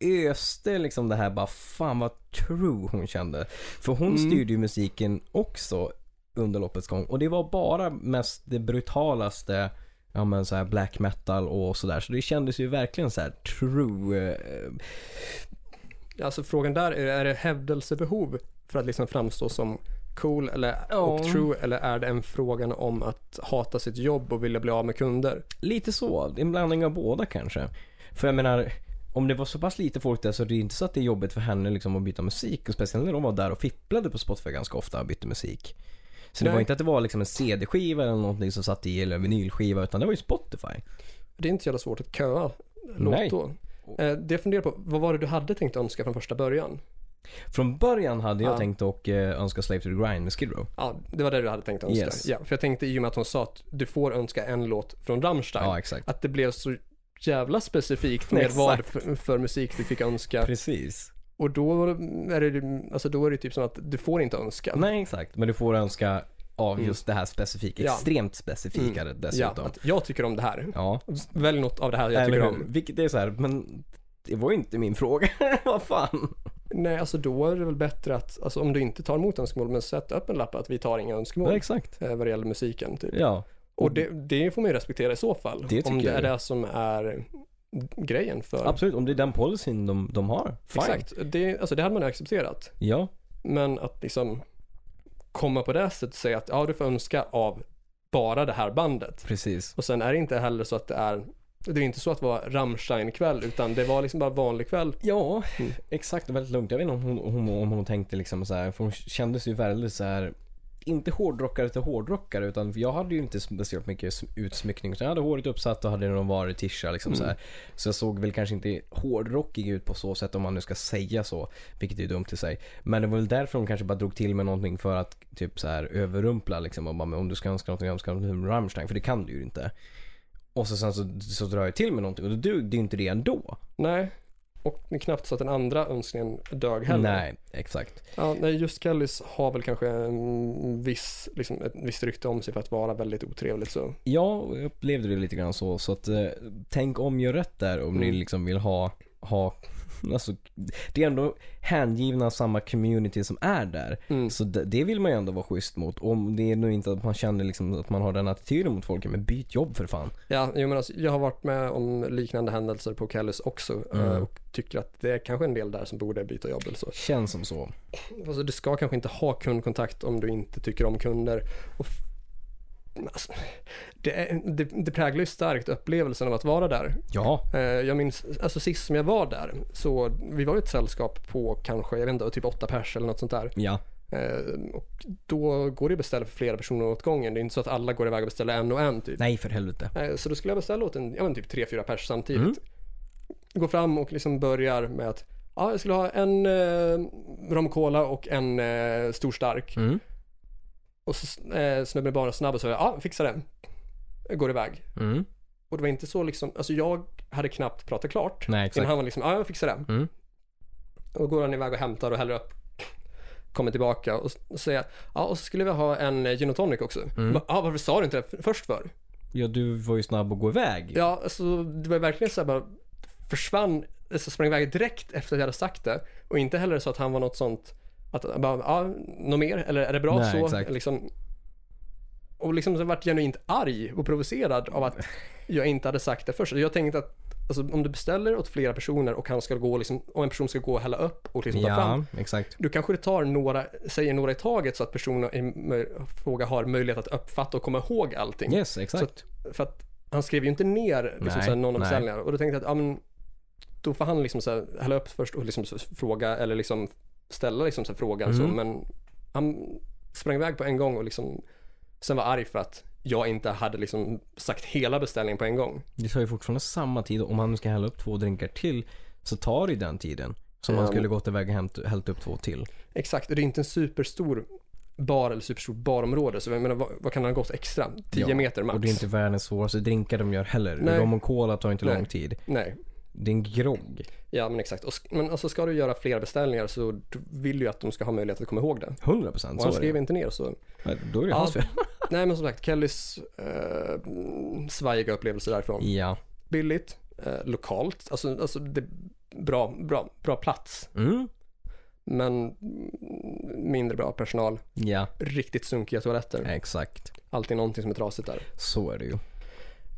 Speaker 1: öste liksom det här bara fan vad true hon kände. För hon
Speaker 2: Mm.
Speaker 1: styrde ju musiken också under loppets gång. Och det var bara mest det brutalaste, ja men så här black metal och sådär. Så det kändes ju verkligen så här true. eh,
Speaker 2: Alltså frågan där är, är det hävdelsebehov för att liksom framstå som cool eller och
Speaker 1: Ja.
Speaker 2: true eller är det en frågan om att hata sitt jobb och vilja bli av med kunder?
Speaker 1: Lite så, en blandning av båda kanske. För jag menar, om det var så pass lite folk där så det är inte så att det är jobbigt för henne liksom att byta musik. Och speciellt när de var där och fipplade på Spotify ganska ofta och bytte musik. Så det
Speaker 2: Nej.
Speaker 1: var inte att det var liksom en CD-skiva eller någonting som satt i eller en vinylskiva utan det var ju Spotify.
Speaker 2: Det är inte så jävla svårt att köa
Speaker 1: Nej.
Speaker 2: låt då. Eh, det jag funderar på, vad var det du hade tänkt önska från första början?
Speaker 1: Från början hade jag
Speaker 2: Ja.
Speaker 1: tänkt och eh, önska Slave to the Grind med Skid Row.
Speaker 2: Ja, det var det du hade tänkt önska.
Speaker 1: Yes.
Speaker 2: Ja, för jag tänkte i och med att hon sa att du får önska en låt från Rammstein,
Speaker 1: Ja, exakt.
Speaker 2: att det blev så jävla specifikt med
Speaker 1: Exakt.
Speaker 2: vad för, för musik du fick önska.
Speaker 1: Precis.
Speaker 2: Och då är det, ju- alltså då är det typ som att du får inte önska.
Speaker 1: Nej, exakt. Men du får önska av
Speaker 2: Mm.
Speaker 1: just det här specifika,
Speaker 2: Ja. Mm.
Speaker 1: extremt specifika
Speaker 2: Ja,
Speaker 1: dessutom.
Speaker 2: att jag tycker om det här.
Speaker 1: ja.
Speaker 2: Välj något av det här jag
Speaker 1: Eller
Speaker 2: tycker
Speaker 1: hur?
Speaker 2: om.
Speaker 1: Vilket det är så här, men det var ju inte min fråga. Vad fan?
Speaker 2: Nej, alltså då är det väl bättre att, alltså om du inte tar emot önskemål, men sätt upp en lapp att vi tar inga önskemål
Speaker 1: exakt.
Speaker 2: eh, vad det gäller musiken. Typ.
Speaker 1: Ja,
Speaker 2: Och det, det får man ju respektera i så fall.
Speaker 1: Det tycker
Speaker 2: om det
Speaker 1: jag.
Speaker 2: är det som är grejen för...
Speaker 1: absolut. Om det är den policyn de, de har. Fine.
Speaker 2: Exakt. Det, alltså det hade man ju accepterat.
Speaker 1: Ja,
Speaker 2: Men att liksom komma på det sättet och säga att ja, du får önska av bara det här bandet.
Speaker 1: precis.
Speaker 2: Och sen är det inte heller så att det är, det är inte så att det var Rammstein-kväll, utan det var liksom bara vanlig kväll.
Speaker 1: Ja, exakt. Väldigt lugnt. Jag vet inte om hon, hon, om hon tänkte liksom så här, för hon kändes ju väldigt så här inte hårdrockare till hårdrockare utan jag hade ju inte speciellt mycket sm- utsmyckning utan jag hade håret uppsatt och hade någon varig tisha liksom så här. Så jag såg väl kanske inte hårdrockig ut på så sätt om man nu ska säga så, vilket är ju dumt i sig. Men det var väl därför de kanske bara drog till med någonting för att typ så här överrumpla liksom och bara, "Men om du ska önska någonting, önska någonting Rammstein för det kan du ju inte. Och så sen så, så drar jag till med någonting och då dög det ju inte det ändå.
Speaker 2: Nej, och det är knappt så att den andra önskningen dög heller.
Speaker 1: Nej, exakt.
Speaker 2: Ja, nej, just Kellys har väl kanske en viss, liksom, ett visst rykte om sig för att vara väldigt otrevligt så.
Speaker 1: Ja, jag upplevde det lite grann så. Så att eh, tänk om, gör rätt där om ni
Speaker 2: Mm.
Speaker 1: liksom vill ha, ha Alltså, det är ändå hängivna samma community som är där.
Speaker 2: Mm.
Speaker 1: Så det, det vill man ju ändå vara schysst mot. Om det är nu inte att man känner liksom att man har den attityden mot folk, men byt jobb för fan.
Speaker 2: Ja, jo, men alltså, jag har varit med om liknande händelser på Kellys också
Speaker 1: Mm.
Speaker 2: eh, och tycker att det är kanske en del där som borde byta jobb eller så.
Speaker 1: Känns som så.
Speaker 2: Alltså, du ska kanske inte ha kundkontakt om du inte tycker om kunder. Och f- men alltså, det, är, det, det präglar ju starkt upplevelsen av att vara där.
Speaker 1: Ja.
Speaker 2: Eh, Jag minns, alltså sist som jag var där, så vi var ju ett sällskap på kanske, jag vet inte, typ åtta pers eller något sånt där.
Speaker 1: Ja.
Speaker 2: Eh, Och då går det att beställa för flera personer åt gången. Det är inte så att alla går iväg och beställer en och en typ.
Speaker 1: Nej, för helvete.
Speaker 2: Eh, Så då skulle jag beställa åt en, ja men typ tre, fyra pers samtidigt.
Speaker 1: Mm.
Speaker 2: Gå fram och liksom börjar med att, ja jag skulle ha en eh, rom cola och en eh, stor stark.
Speaker 1: Mm.
Speaker 2: Och så eh, snubben är bara snabb och så, ja fixa det. Jag går iväg.
Speaker 1: Mm.
Speaker 2: Och det var inte så liksom, alltså jag hade knappt pratat klart.
Speaker 1: Nej,
Speaker 2: Innan
Speaker 1: exakt.
Speaker 2: han var liksom, ja jag fixar det.
Speaker 1: Mm.
Speaker 2: Och går han iväg och hämtar och häller upp. Kommer tillbaka och s- och säger, ja och så skulle vi ha en eh, gin och tonic också.
Speaker 1: Mm.
Speaker 2: Bara, Ja, varför sa du inte det f- först för?
Speaker 1: Ja, du var ju snabb att gå iväg.
Speaker 2: Ja, alltså det var verkligen så här bara försvann, alltså sprang iväg direkt efter att jag hade sagt det. Och inte heller så att han var något sånt, att han bara, ja, något mer? Eller är det bra
Speaker 1: Nej,
Speaker 2: så?
Speaker 1: exakt.
Speaker 2: Liksom, och liksom så vart jag genuint arg och provocerad av att jag inte hade sagt det först. Jag tänkte att alltså, om du beställer åt flera personer och han ska gå liksom, om en person ska gå och hälla upp och liksom ta fram.
Speaker 1: ja exakt.
Speaker 2: Du kanske du tar några, säger några i taget så att personen i mö- fråga har möjlighet att uppfatta och komma ihåg allting.
Speaker 1: Yes, exakt.
Speaker 2: För att han skrev ju inte ner liksom,
Speaker 1: Nej,
Speaker 2: såhär, någon
Speaker 1: nej.
Speaker 2: av beställningarna. Och då tänkte jag att ja, men, då får han liksom såhär, hälla upp först och liksom så- fråga eller liksom ställa liksom såhär, frågan. Så,
Speaker 1: Mm.
Speaker 2: men han sprang iväg på en gång och liksom, sen var arg för att jag inte hade liksom sagt hela beställningen på en gång.
Speaker 1: Det tar ju fortfarande samma tid. Om han nu ska hälla upp två drinkar till så tar det ju den tiden. Som
Speaker 2: Ja,
Speaker 1: han
Speaker 2: men-
Speaker 1: skulle gått iväg och hämt, hällt upp två till.
Speaker 2: Exakt, och det är inte en superstor bar eller superstort barområde. Så jag menar, vad, vad kan han ha gått extra? 10
Speaker 1: Ja,
Speaker 2: meter max?
Speaker 1: Och det är inte världens svåraste drinkar de gör heller.
Speaker 2: Nej.
Speaker 1: Rom och cola tar inte
Speaker 2: Nej.
Speaker 1: lång tid.
Speaker 2: Nej.
Speaker 1: Det är en grogg.
Speaker 2: Ja, men exakt. Och, sk- men alltså ska du göra fler beställningar så du vill ju att de ska ha möjlighet att komma ihåg det.
Speaker 1: 100% procent.
Speaker 2: Och han skrev inte ner så.
Speaker 1: Då är det
Speaker 2: Ja.
Speaker 1: hans fel.
Speaker 2: Nej men som sagt, Kellys eh, svajiga upplevelser därifrån.
Speaker 1: Ja.
Speaker 2: Billigt, eh, lokalt, alltså, alltså det, bra, bra, bra plats.
Speaker 1: Mm.
Speaker 2: men mindre bra personal,
Speaker 1: Ja,
Speaker 2: riktigt sunkiga toaletter.
Speaker 1: exakt.
Speaker 2: Alltid någonting som är trasigt där.
Speaker 1: Så är det ju.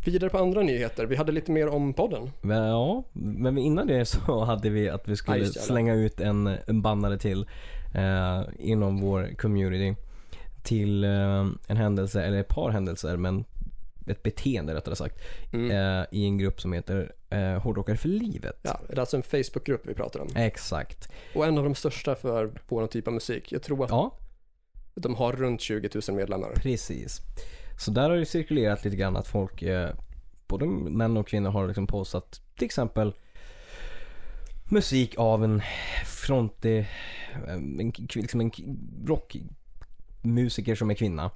Speaker 2: Vidare på andra nyheter. Vi hade lite mer om podden.
Speaker 1: Men, ja, men innan det så hade vi att vi skulle
Speaker 2: Ja, just det, ja.
Speaker 1: slänga ut en, en bannare till eh, inom vår community. Till eh, en händelse, eller ett par händelser, men ett beteende rättare sagt.
Speaker 2: Mm.
Speaker 1: Eh, I en grupp som heter eh, Hårdrockare för livet.
Speaker 2: Ja, det är alltså en Facebookgrupp vi pratar om.
Speaker 1: Exakt.
Speaker 2: Och en av de största för vår typ av musik. Jag tror att
Speaker 1: Ja,
Speaker 2: de har runt 20 000 medlemmar.
Speaker 1: Precis. Så där har det cirkulerat lite grann att folk, eh, både män och kvinnor, har liksom postat till exempel musik av en frontig, eh, en, k- liksom en k- rockmusiker som är kvinna.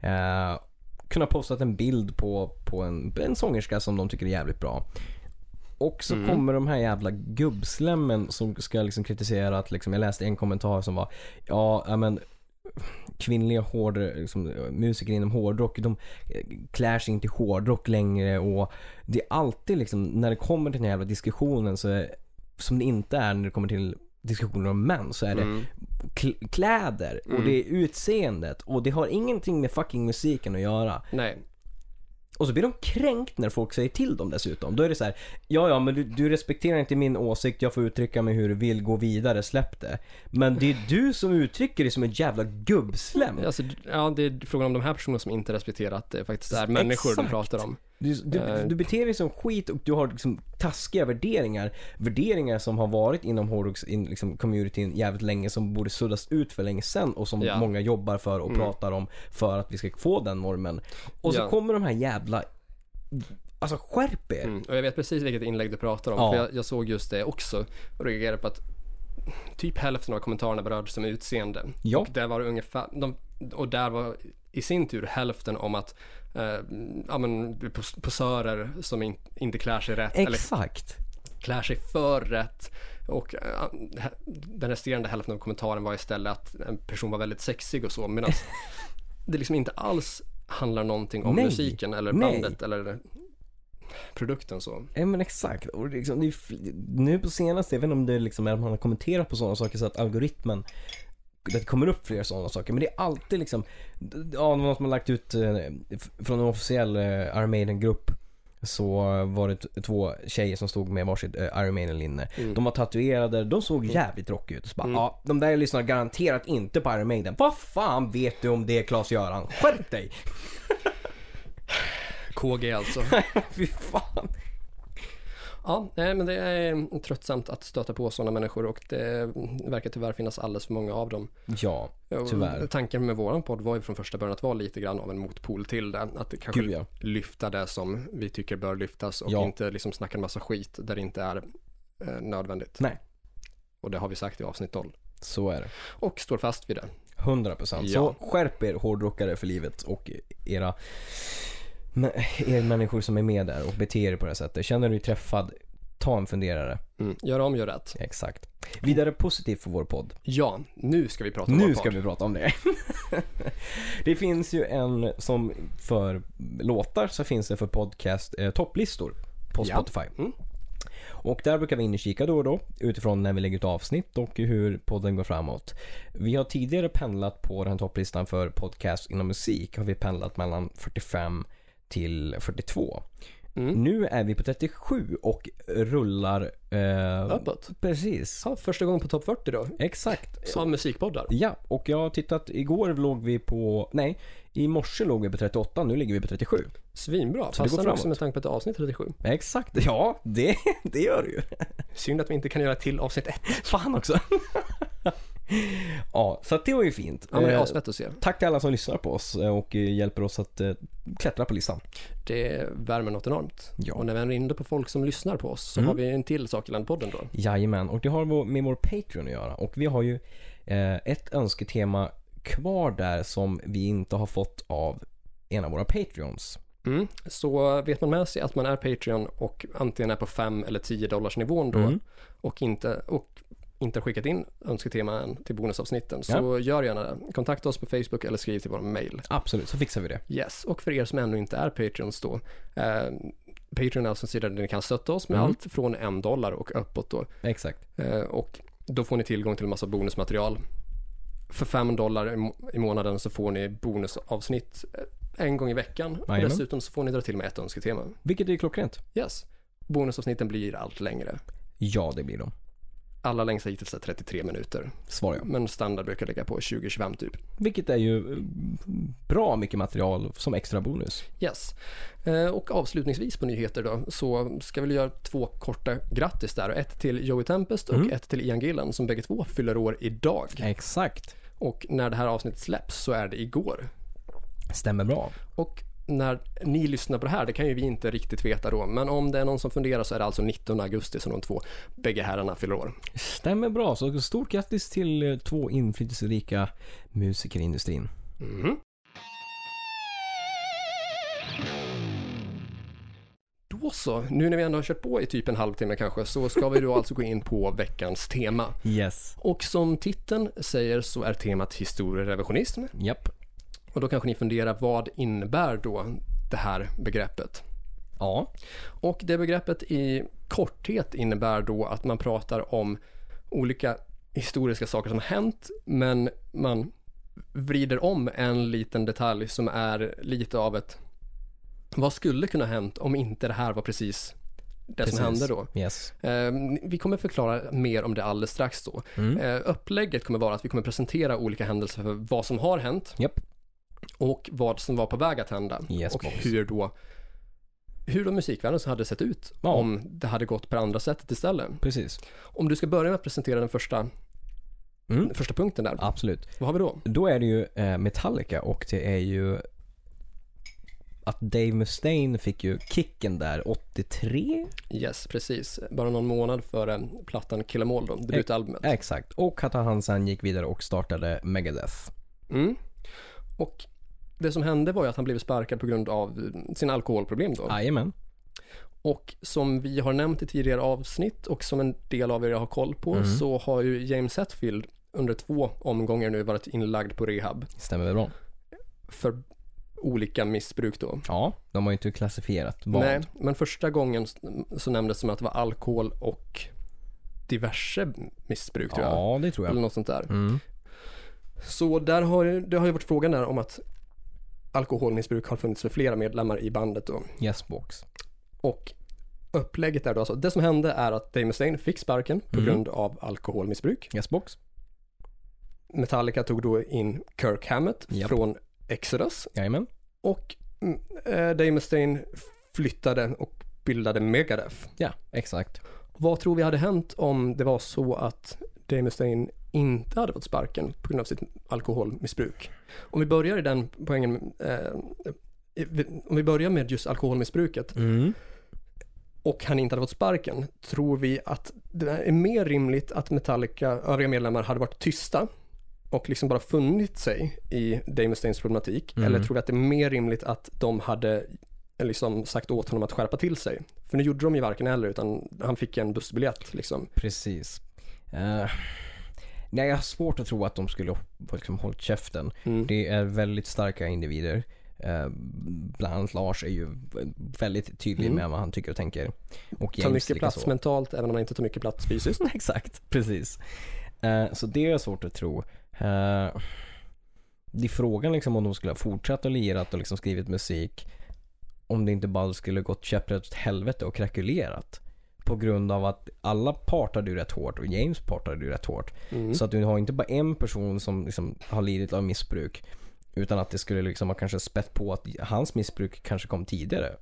Speaker 1: Eh, kunnat postat en bild på, på en, en sångerska som de tycker är jävligt bra. Och så
Speaker 2: Mm.
Speaker 1: kommer de här jävla gubbslemmen som ska liksom kritisera att liksom, jag läste en kommentar som var Ja, ja, men kvinnliga hård, liksom, musiker inom hårdrock, de eh, klär sig inte i hårdrock längre och det är alltid liksom, när det kommer till den här jävla diskussionen så är, som det inte är när det kommer till diskussioner om män så är det
Speaker 2: Mm.
Speaker 1: kl- kläder och det är utseendet och det har ingenting med fucking musiken att göra.
Speaker 2: Nej,
Speaker 1: Och så blir de kränkt när folk säger till dem dessutom. Då är det så här, ja ja men du, du respekterar inte min åsikt, jag får uttrycka mig hur du vill, gå vidare, släpp det. Men det är du som uttrycker dig som ett jävla gubbslem.
Speaker 2: alltså, ja, det är frågan om de här personerna som inte respekterar att det faktiskt är människor de
Speaker 1: Exakt.
Speaker 2: pratar om.
Speaker 1: Du, du,
Speaker 2: Eh.
Speaker 1: du beter dig som skit och du har liksom taskiga värderingar. Värderingar som har varit inom hårdrocks in, liksom, communityn jävligt länge som borde suddas ut för länge sedan och som
Speaker 2: Ja. Mm.
Speaker 1: många jobbar för och pratar om för att vi ska få den normen. Och så
Speaker 2: Ja.
Speaker 1: kommer de här jävla... Alltså skärp er!
Speaker 2: Mm. Och jag vet precis vilket inlägg du pratar om,
Speaker 1: Ja.
Speaker 2: för jag, jag såg just det också och reagerade på att typ hälften av kommentarerna berörde som utseende.
Speaker 1: Ja.
Speaker 2: Och där var det ungefär, de, och där var i sin tur hälften om att eh, ja, men, pos- posörer som in, inte klär sig rätt eller
Speaker 1: Exakt!
Speaker 2: klär sig för rätt. Och eh, he- den resterande hälften av kommentaren var istället att en person var väldigt sexig och så, medan det liksom inte alls handlar någonting om
Speaker 1: Nej.
Speaker 2: musiken eller
Speaker 1: Nej.
Speaker 2: bandet eller produkten så.
Speaker 1: Ja men exakt. Och det är liksom, det är, fl- nu på senaste, jag vet inte om det liksom är att man har kommenterat på sådana saker så att algoritmen det kommer upp fler sådana saker men det är alltid liksom, ja det var någon som har lagt ut eh, f- från en officiell eh, Iron Maiden-grupp så var det t- två tjejer som stod med varsitt eh, Iron Maiden-linne. De var tatuerade, de såg jävligt rockiga ut. Så bara, ja, de där lyssnar garanterat inte på Iron Maiden. Vad fan vet du om det Claes-Göran? Skärp dig!
Speaker 2: KG alltså.
Speaker 1: Fy fan.
Speaker 2: Ja, nej, men det är tröttsamt att stöta på sådana människor och det verkar tyvärr finnas alldeles för många av dem.
Speaker 1: Ja,
Speaker 2: Och
Speaker 1: Tyvärr.
Speaker 2: Tanken med våran podd var ju från första början att vara lite grann av en motpol till det. Att det kanske
Speaker 1: Gud, ja.
Speaker 2: lyfta det som vi tycker bör lyftas och
Speaker 1: Ja.
Speaker 2: inte liksom snacka en massa skit där det inte är eh, nödvändigt.
Speaker 1: Nej.
Speaker 2: Och det har vi sagt i avsnitt 12.
Speaker 1: så är det.
Speaker 2: Och står fast vid det.
Speaker 1: 100%
Speaker 2: Ja.
Speaker 1: Så skärp er hårdrockare för livet och era men- er människor som är med där och beter er på det här sättet. Känner du dig träffad, ta en funderare.
Speaker 2: Mm. Gör om, gör rätt.
Speaker 1: Exakt. Vidare positivt för vår podd.
Speaker 2: Ja, nu ska vi prata om
Speaker 1: Nu
Speaker 2: vår
Speaker 1: ska
Speaker 2: podd.
Speaker 1: vi prata om det. det finns ju en som för låtar så finns det för podcast eh, topplistor på
Speaker 2: Ja.
Speaker 1: Spotify.
Speaker 2: Mm.
Speaker 1: Och där brukar vi in och kika då och då utifrån när vi lägger ut avsnitt och hur podden går framåt. Vi har tidigare pendlat på den här topplistan för podcast inom musik har vi pendlat mellan 45 till 42.
Speaker 2: Mm.
Speaker 1: Nu är vi på 37 och rullar... Eh,
Speaker 2: Uppåt.
Speaker 1: Precis.
Speaker 2: Ja, första gången på topp 40 då.
Speaker 1: Exakt.
Speaker 2: Som musikpoddar.
Speaker 1: Ja, och jag har tittat. Igår låg vi på, nej, i morse låg vi på 38, nu ligger vi på 37.
Speaker 2: Svinbra.
Speaker 1: Så det går
Speaker 2: Passar också
Speaker 1: framåt.
Speaker 2: med tanke på att det är avsnitt 37.
Speaker 1: Exakt, ja det, det gör det ju.
Speaker 2: Synd att vi inte kan göra till avsnitt 1.
Speaker 1: Fan också. ja, så att det var ju fint.
Speaker 2: Ja, men det är
Speaker 1: Eh,
Speaker 2: asfett att se.
Speaker 1: Tack till alla som lyssnar på oss eh, och eh, hjälper oss att eh, klättra på listan.
Speaker 2: Det värmer något enormt.
Speaker 1: Ja.
Speaker 2: Och när vi är inne på folk som lyssnar på oss så har vi en till sak i den podden då.
Speaker 1: Jajamän, och det har vår- med vår Patreon att göra. Och vi har ju eh, ett önsketema kvar där som vi inte har fått av en av våra Patreons.
Speaker 2: Mm. Så vet man med sig att man är Patreon och antingen är på 5 eller 10 dollars nivån då
Speaker 1: Mm.
Speaker 2: och inte och inte har skickat in önsketema än till bonusavsnitten så gör gärna det. Kontakta oss på Facebook eller skriv till vår mail.
Speaker 1: Absolut, så fixar vi det.
Speaker 2: Yes, och för er som ännu inte är Patreons då. Eh, Patreon är alltså en sida där ni kan stötta oss med
Speaker 1: Mm.
Speaker 2: allt från en dollar och uppåt då.
Speaker 1: Exakt.
Speaker 2: Eh, och Då får ni tillgång till en massa bonusmaterial. För 5 dollar i må- i månaden så får ni bonusavsnitt eh, en gång i veckan. Och
Speaker 1: Jajamän.
Speaker 2: dessutom så får ni dra till med ett önsketema.
Speaker 1: Vilket är ju klockrent.
Speaker 2: Yes. Bonusavsnitten blir allt längre.
Speaker 1: Ja, det blir de.
Speaker 2: Alla längsta hittills är 33 minuter.
Speaker 1: Svarar jag.
Speaker 2: Men standard brukar ligga på 20-25 typ.
Speaker 1: Vilket är ju eh, bra mycket material som extra bonus.
Speaker 2: Yes. Eh, Och avslutningsvis på nyheter då, så ska vi göra två korta grattis där. Ett till Joey Tempest och
Speaker 1: Mm.
Speaker 2: ett till Ian Gillan som bägge två fyller år idag.
Speaker 1: Exakt.
Speaker 2: Och när det här avsnittet släpps så är det igår.
Speaker 1: Stämmer bra.
Speaker 2: Och när ni lyssnar på det här, det kan ju vi inte riktigt veta då, men om det är någon som funderar så är det alltså 19 augusti som de två bägge herrarna fyller år.
Speaker 1: Stämmer bra. Så stort grattis till eh, två inflytelserika musiker i industrin.
Speaker 2: Mhm. Då så, nu när vi ändå har kört på i typ en halvtimme kanske så ska vi då alltså gå in på veckans tema.
Speaker 1: Yes.
Speaker 2: Och som titeln säger så är temat historierevisionism.
Speaker 1: Japp.
Speaker 2: Och då kanske ni funderar vad innebär då det här begreppet?
Speaker 1: Ja.
Speaker 2: Och det begreppet i korthet innebär då att man pratar om olika historiska saker som har hänt, men man vrider om en liten detalj som är lite av ett vad skulle kunna ha hänt om inte det här var precis det som hände då?
Speaker 1: Yes.
Speaker 2: Eh, Vi kommer förklara mer om det alldeles strax då.
Speaker 1: Mm.
Speaker 2: Eh, Upplägget kommer vara att vi kommer presentera olika händelser för vad som har hänt
Speaker 1: Japp.
Speaker 2: och vad som var på väg att hända.
Speaker 1: Yes,
Speaker 2: och
Speaker 1: boss.
Speaker 2: hur då, hur då musikvärlden så hade sett ut
Speaker 1: Ja.
Speaker 2: om det hade gått på det andra sättet istället.
Speaker 1: Precis.
Speaker 2: Om du ska börja med att presentera den första,
Speaker 1: Mm.
Speaker 2: den första punkten där,
Speaker 1: Absolut.
Speaker 2: vad har vi då?
Speaker 1: Då är det ju eh, Metallica och det är ju att Dave Mustaine fick ju kicken där 83.
Speaker 2: Yes, precis. Bara någon månad före plattan Kill 'em All då, debutalbumet.
Speaker 1: Exakt. Och att han sen gick vidare och startade Megadeth.
Speaker 2: Mm. Och det som hände var ju att han blev sparkad på grund av sina alkoholproblem då.
Speaker 1: Jajamän.
Speaker 2: Och som vi har nämnt i tidigare avsnitt och som en del av er har koll på
Speaker 1: Mm.
Speaker 2: så har ju James Hetfield under två omgångar nu varit inlagd på rehab
Speaker 1: Stämmer väl bra?
Speaker 2: för olika missbruk då.
Speaker 1: Ja, de har ju inte klassifierat vad.
Speaker 2: Nej, men första gången s- så nämndes det som att det var alkohol och diverse missbruk tror jag.
Speaker 1: Ja, det tror
Speaker 2: Eller
Speaker 1: jag.
Speaker 2: något sånt där.
Speaker 1: Mm.
Speaker 2: Så där har, ju- det har ju varit frågan där om att alkoholmissbruk har funnits för flera medlemmar i bandet då.
Speaker 1: Yes box.
Speaker 2: Och upplägget är då alltså, det som hände är att Dave Mustaine fick sparken på
Speaker 1: Mm.
Speaker 2: grund av alkoholmissbruk.
Speaker 1: Yes box.
Speaker 2: Metallica tog då in Kirk Hammett
Speaker 1: Japp.
Speaker 2: från Exodus
Speaker 1: Jajamän.
Speaker 2: och mm, eh, Dave Mustaine flyttade och bildade Megadeth.
Speaker 1: Ja, exakt.
Speaker 2: Vad tror vi hade hänt om det var så att Dave Mustaine inte hade fått sparken på grund av sitt alkoholmissbruk? Om vi börjar i den poängen, eh, i- om vi börjar med just alkoholmissbruket
Speaker 1: Mm.
Speaker 2: och han inte hade fått sparken, tror vi att det är mer rimligt att Metallica, övriga medlemmar, hade varit tysta och liksom bara funnit sig i Dave Mustaines problematik?
Speaker 1: Mm.
Speaker 2: Eller tror vi att det är mer rimligt att de hade liksom sagt åt honom att skärpa till sig? För nu gjorde de ju varken eller, utan han fick en bussbiljett liksom.
Speaker 1: Precis. Eh, nej, jag har svårt att tro att de skulle liksom, hållit käften.
Speaker 2: Mm.
Speaker 1: Det är väldigt starka individer. Eh, bland annat Lars är ju väldigt tydlig
Speaker 2: Mm.
Speaker 1: med vad han tycker och tänker. Och
Speaker 2: tar
Speaker 1: James
Speaker 2: mycket plats
Speaker 1: likaså.
Speaker 2: mentalt även om man inte tar mycket plats fysiskt.
Speaker 1: Exakt, precis. Eh, så det är svårt att tro. Eh, det är frågan liksom om de skulle ha fortsatt och lirat och liksom skrivit musik. Om det inte bara skulle gått käpprätt åt helvete och krakulerat. På grund av att alla partade ju rätt hårt och James partade ju rätt hårt.
Speaker 2: Mm.
Speaker 1: Så att du har inte bara en person som liksom har lidit av missbruk. Utan att det skulle liksom ha kanske spett på att hans missbruk kanske kom tidigare.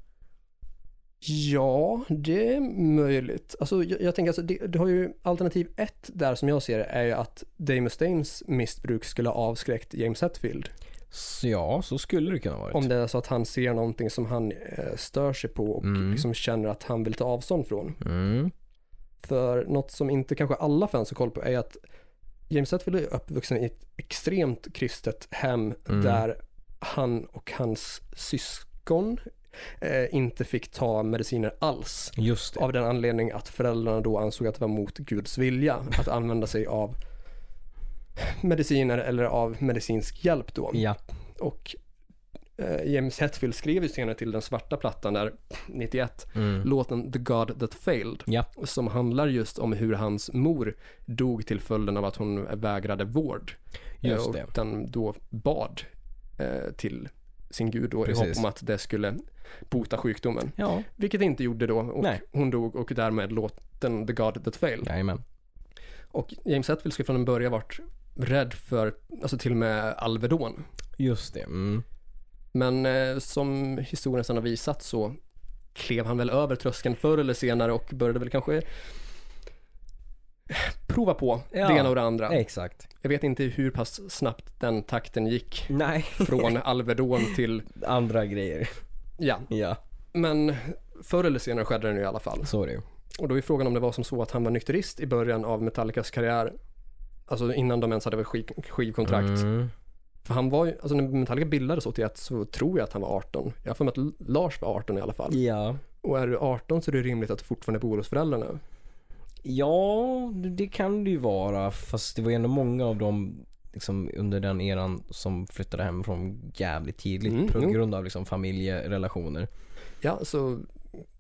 Speaker 2: Ja, det är möjligt. Alltså, jag, jag tänker alltså, det, det har ju alternativ ett där som jag ser det är ju att Dave Mustaines missbruk skulle ha avskräckt James Hetfield.
Speaker 1: Så ja, så skulle det kunna ha varit.
Speaker 2: Om det är så att han ser någonting som han eh, stör sig på och
Speaker 1: Mm.
Speaker 2: liksom känner att han vill ta avstånd från.
Speaker 1: Mm.
Speaker 2: För något som inte kanske alla fans har koll på är ju att James Hetfield är uppvuxen i ett extremt kristet hem
Speaker 1: Mm.
Speaker 2: där han och hans syskon eh, inte fick ta mediciner alls.
Speaker 1: Just det.
Speaker 2: Av den anledning att föräldrarna då ansåg att det var mot Guds vilja att använda sig av mediciner eller av medicinsk hjälp då.
Speaker 1: Ja,
Speaker 2: Och eh, James Hetfield skrev ju senare till den svarta plattan där, 91, låten The God That Failed,
Speaker 1: Mm. Ja.
Speaker 2: som handlar just om hur hans mor dog till följden av att hon vägrade vård.
Speaker 1: Just
Speaker 2: Eh, och
Speaker 1: det.
Speaker 2: den då bad eh, till sin gud då, i hopp
Speaker 1: Precis.
Speaker 2: om att det skulle bota sjukdomen.
Speaker 1: Ja,
Speaker 2: Vilket det inte gjorde då och
Speaker 1: Nej.
Speaker 2: hon dog och därmed låten The God That Failed.
Speaker 1: jajamän.
Speaker 2: Och James Hetfield skulle från en början varit rädd för, alltså till och med Alvedon.
Speaker 1: Just det. Mm.
Speaker 2: Men eh, som historien sedan har visat så klev han väl över tröskeln förr eller senare och började väl kanske eh, prova på
Speaker 1: Ja.
Speaker 2: det ena och det andra.
Speaker 1: Exakt.
Speaker 2: Jag vet inte hur pass snabbt den takten gick
Speaker 1: Nej.
Speaker 2: från Alvedon till,
Speaker 1: Andra grejer.
Speaker 2: ja,
Speaker 1: Ja,
Speaker 2: men förr eller senare skedde det nu i alla fall.
Speaker 1: så är det ju.
Speaker 2: Och då är frågan om det var som så att han var nykterist i början av Metallicas karriär. Alltså innan de ens hade väl skiv- skivkontrakt.
Speaker 1: Mm.
Speaker 2: För han var ju, alltså när Metallica bildades 81 så tror jag att han var 18. Jag har för mig att L- Lars var 18 i alla fall.
Speaker 1: Ja.
Speaker 2: Och är du 18 så är det rimligt att du fortfarande bor hos föräldrarna.
Speaker 1: Ja, det kan det ju vara. Fast det var ju ändå många av dem liksom, under den eran som flyttade hemifrån jävligt tidigt
Speaker 2: Mm,
Speaker 1: på
Speaker 2: jo.
Speaker 1: grund av liksom, familjerelationer.
Speaker 2: Ja, så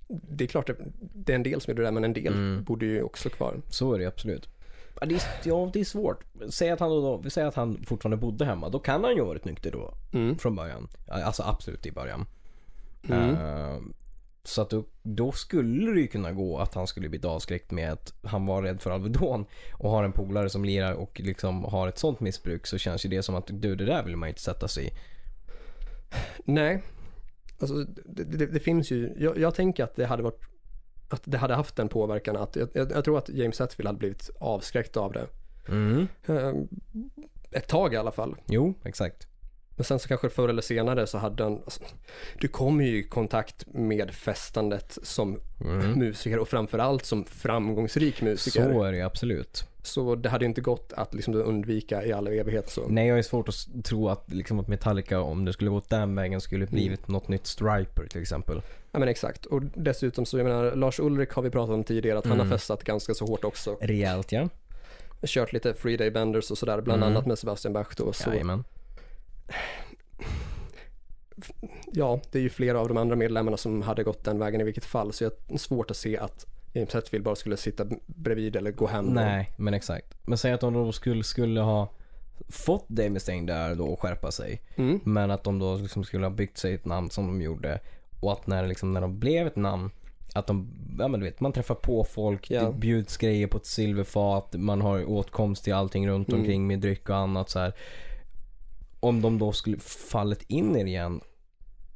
Speaker 2: det är klart att det är en del som gjorde det där, men en del
Speaker 1: Mm.
Speaker 2: bodde ju också kvar.
Speaker 1: Så är det ju absolut. Ja det, är, ja, det är svårt. Säg att, han då, vi säger att han fortfarande bodde hemma. Då kan han ju ha varit nykter då
Speaker 2: Mm.
Speaker 1: från början. Alltså absolut i början.
Speaker 2: Mm.
Speaker 1: Eh, så att då, då skulle det ju kunna gå att han skulle bli avskräckt med att han var rädd för Alvedon och har en polare som lirar och liksom har ett sånt missbruk så känns ju det som att du det där vill man ju inte sätta sig i.
Speaker 2: Nej, alltså det, det, det finns ju, jag, jag tänker att det hade varit, att det hade haft den påverkan att, jag, jag, jag tror att James Hetfield hade blivit avskräckt av det.
Speaker 1: Mm.
Speaker 2: Eh, Ett tag i alla fall.
Speaker 1: Jo, exakt.
Speaker 2: Men sen så kanske förr eller senare så hade han, alltså, du kommer ju i kontakt med festandet som musiker och framförallt som framgångsrik musiker.
Speaker 1: Mm. Så
Speaker 2: Så,
Speaker 1: är det ju absolut.
Speaker 2: det hade inte gått att liksom undvika i all evighet. Så.
Speaker 1: Nej, jag är svårt att s- tro att, liksom, att Metallica, om det skulle gått den vägen, skulle blivit något nytt Striper till exempel.
Speaker 2: Ja, men exakt. Och dessutom så, jag menar, Lars Ulrik har vi pratat om tidigare att han har
Speaker 1: Mm.
Speaker 2: festat ganska så hårt också.
Speaker 1: Rejält ja.
Speaker 2: Kört lite Free Day Benders och sådär, bland
Speaker 1: Mm.
Speaker 2: annat med Sebastian Bach då. Så,
Speaker 1: Jajamän.
Speaker 2: ja, det är ju flera av de andra medlemmarna som hade gått den vägen i vilket fall. Så jag är svårt att se att James Hetfield bara skulle sitta bredvid eller gå hem.
Speaker 1: Nej, men exakt. Men säg att de då skulle, skulle ha fått Dave Mustaine där då och skärpa sig.
Speaker 2: Mm.
Speaker 1: Men att de då liksom skulle ha byggt sig ett namn som de gjorde. Och att när, liksom, när de blev ett namn, att de, ja men du vet, man träffar på folk,
Speaker 2: Ja.
Speaker 1: det bjuds grejer på ett silverfat, man har åtkomst till allting runt
Speaker 2: Mm.
Speaker 1: omkring med dryck och annat så här. Om de då skulle fallit in i det igen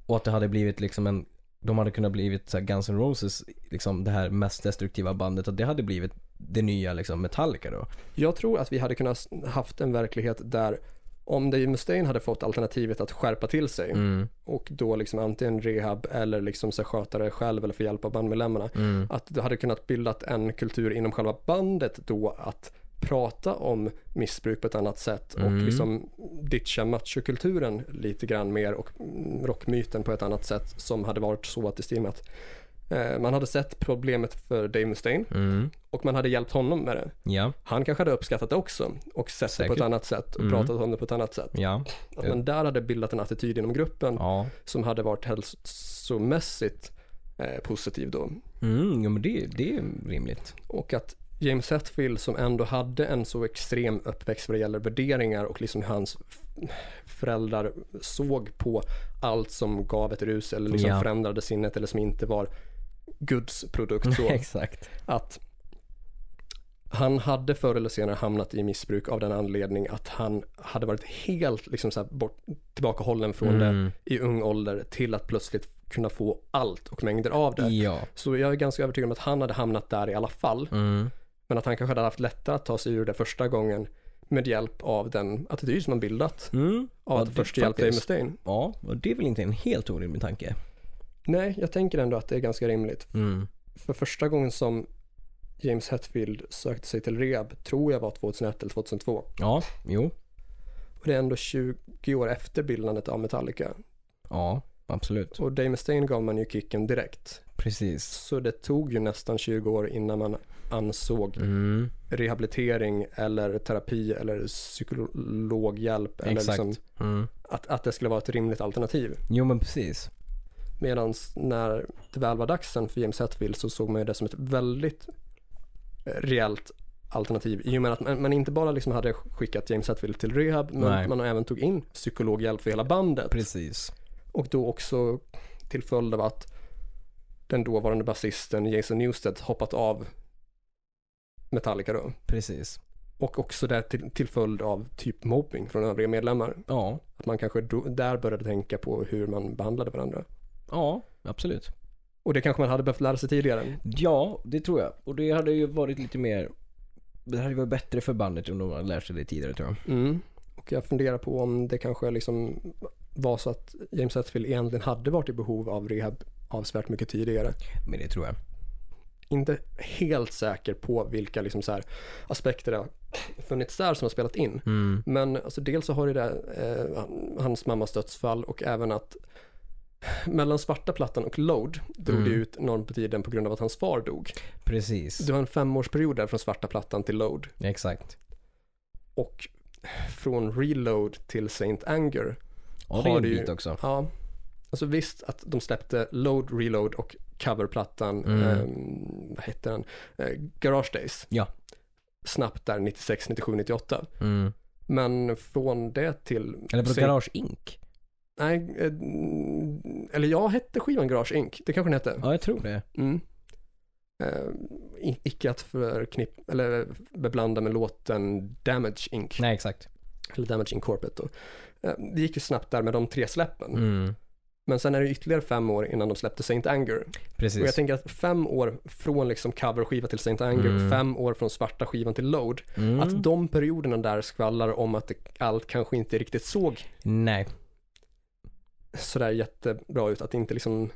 Speaker 1: och att det hade blivit liksom en, de hade kunnat blivit så här Guns N' Roses, liksom det här mest destruktiva bandet, att det hade blivit det nya liksom Metallica då.
Speaker 2: Jag tror att vi hade kunnat s- haft en verklighet där om Dave Mustaine hade fått alternativet att skärpa till sig
Speaker 1: Mm.
Speaker 2: och då liksom antingen rehab eller liksom så här sköta det själv eller få hjälp av bandmedlemmarna. Att du hade kunnat bildat en kultur inom själva bandet då att prata om missbruk på ett annat sätt och
Speaker 1: Mm.
Speaker 2: liksom ditcha machokulturen lite grann mer och mm, rockmyten på ett annat sätt som hade varit så att det stimmat. Eh, man hade sett problemet för Dave Mustaine och man hade hjälpt honom med det.
Speaker 1: Ja,
Speaker 2: Han kanske hade uppskattat det också och sett det
Speaker 1: Säkert.
Speaker 2: på ett annat sätt och
Speaker 1: Mm.
Speaker 2: pratat om det på ett annat sätt.
Speaker 1: ja,
Speaker 2: Att man där hade bildat en attityd inom gruppen
Speaker 1: ja.
Speaker 2: som hade varit hälsomässigt eh, positiv då.
Speaker 1: Mm, ja men det, det är rimligt.
Speaker 2: Och att James Hetfield som ändå hade en så extrem uppväxt vad det gäller värderingar och liksom hur hans f- föräldrar såg på allt som gav ett rus eller liksom
Speaker 1: Ja.
Speaker 2: förändrade sinnet eller som inte var Guds produkt. Så.
Speaker 1: Exakt.
Speaker 2: att han hade förr eller senare hamnat i missbruk av den anledning att han hade varit helt liksom så här bort, tillbakahållen från
Speaker 1: Mm.
Speaker 2: det i ung ålder till att plötsligt kunna få allt och mängder av det.
Speaker 1: Ja.
Speaker 2: Så jag är ganska övertygad om att han hade hamnat där i alla fall,
Speaker 1: Mm.
Speaker 2: men att han kanske hade haft lättare att ta sig ur det första gången med hjälp av den attityd som han bildat
Speaker 1: Mm.
Speaker 2: av
Speaker 1: Ja,
Speaker 2: att
Speaker 1: det-
Speaker 2: först hjälpa Dave
Speaker 1: faktiskt.
Speaker 2: Mustaine.
Speaker 1: Ja, och det är väl inte en helt orimlig tanke.
Speaker 2: Nej, jag tänker ändå att det är ganska rimligt.
Speaker 1: Mm.
Speaker 2: för första gången som James Hetfield sökte sig till rehab tror jag var 2001 eller 2002.
Speaker 1: Ja, jo.
Speaker 2: Och det är ändå 20 år efter bildandet av Metallica.
Speaker 1: Ja, absolut.
Speaker 2: Och Dave Mustaine gav man ju kicken direkt.
Speaker 1: Precis.
Speaker 2: Så det tog ju nästan 20 år innan man ansåg
Speaker 1: Mm.
Speaker 2: rehabilitering eller terapi eller psykologhjälp. Eller
Speaker 1: Exakt.
Speaker 2: liksom
Speaker 1: Mm.
Speaker 2: att, att det skulle vara ett rimligt alternativ.
Speaker 1: Jo men precis.
Speaker 2: Medan när det väl var dags sen för James Hetfield så såg man ju det som ett väldigt eh, reellt alternativ i och med att man, man inte bara liksom hade skickat James Hetfield till rehab
Speaker 1: Nej.
Speaker 2: men man även tog in psykologhjälp för hela bandet
Speaker 1: Precis.
Speaker 2: och då också till följd av att den dåvarande basisten Jason Newsted hoppat av Metallica då
Speaker 1: Precis.
Speaker 2: och också där till, till följd av typ mobbing från övriga medlemmar
Speaker 1: Ja.
Speaker 2: att man kanske då, där började tänka på hur man behandlade varandra
Speaker 1: Ja, absolut.
Speaker 2: och det kanske man hade behövt lära sig tidigare
Speaker 1: Ja, det tror jag. Och det hade ju varit lite mer... Det hade ju varit bättre för bandet om de hade lärt sig det tidigare tror jag.
Speaker 2: Mm. Och jag funderar på om det kanske liksom var så att James Hetfield egentligen hade varit i behov av rehab avsevärt mycket tidigare.
Speaker 1: Men det tror jag.
Speaker 2: Inte helt säker på vilka liksom så här aspekter det har funnits där som har spelat in.
Speaker 1: Mm.
Speaker 2: Men alltså dels så har det där, eh, hans mammas dödsfall och även att mellan svarta plattan och Load drog
Speaker 1: Mm.
Speaker 2: det ut enormt på tiden på grund av att hans far dog.
Speaker 1: Precis.
Speaker 2: Du har en femårsperiod där från svarta plattan till Load
Speaker 1: Exakt.
Speaker 2: och från Reload till Saint Anger
Speaker 1: Ja, det är
Speaker 2: Har
Speaker 1: en
Speaker 2: det ju-
Speaker 1: bit också.
Speaker 2: Ja, alltså visst att de släppte Load, Reload och coverplattan,
Speaker 1: Mm.
Speaker 2: ehm, vad hette den, eh, Garage Days.
Speaker 1: Ja.
Speaker 2: Snabbt där 96, 97, 98.
Speaker 1: Mm.
Speaker 2: Men från det till...
Speaker 1: Eller på
Speaker 2: se-
Speaker 1: Garage Inc.
Speaker 2: Nej, eh, eller jag hette skivan Garage Inc. Det kanske den hette.
Speaker 1: Ja, jag tror det.
Speaker 2: Mm. Eh, i- icke att förknipp, eller beblanda med låten Damage Inc.
Speaker 1: Nej, exakt.
Speaker 2: Eller Damage Incorporate då. Eh, det gick ju snabbt där med de tre släppen.
Speaker 1: Mm.
Speaker 2: Men sen är det ytterligare fem år innan de släppte Saint Anger.
Speaker 1: Precis.
Speaker 2: Och jag tänker att fem år från liksom coverskiva till Saint Anger
Speaker 1: Mm.
Speaker 2: och fem år från svarta skivan till Load,
Speaker 1: mm.
Speaker 2: att de perioderna där skvallrar om att det, allt kanske inte riktigt såg
Speaker 1: Nej.
Speaker 2: sådär jättebra ut, att det inte liksom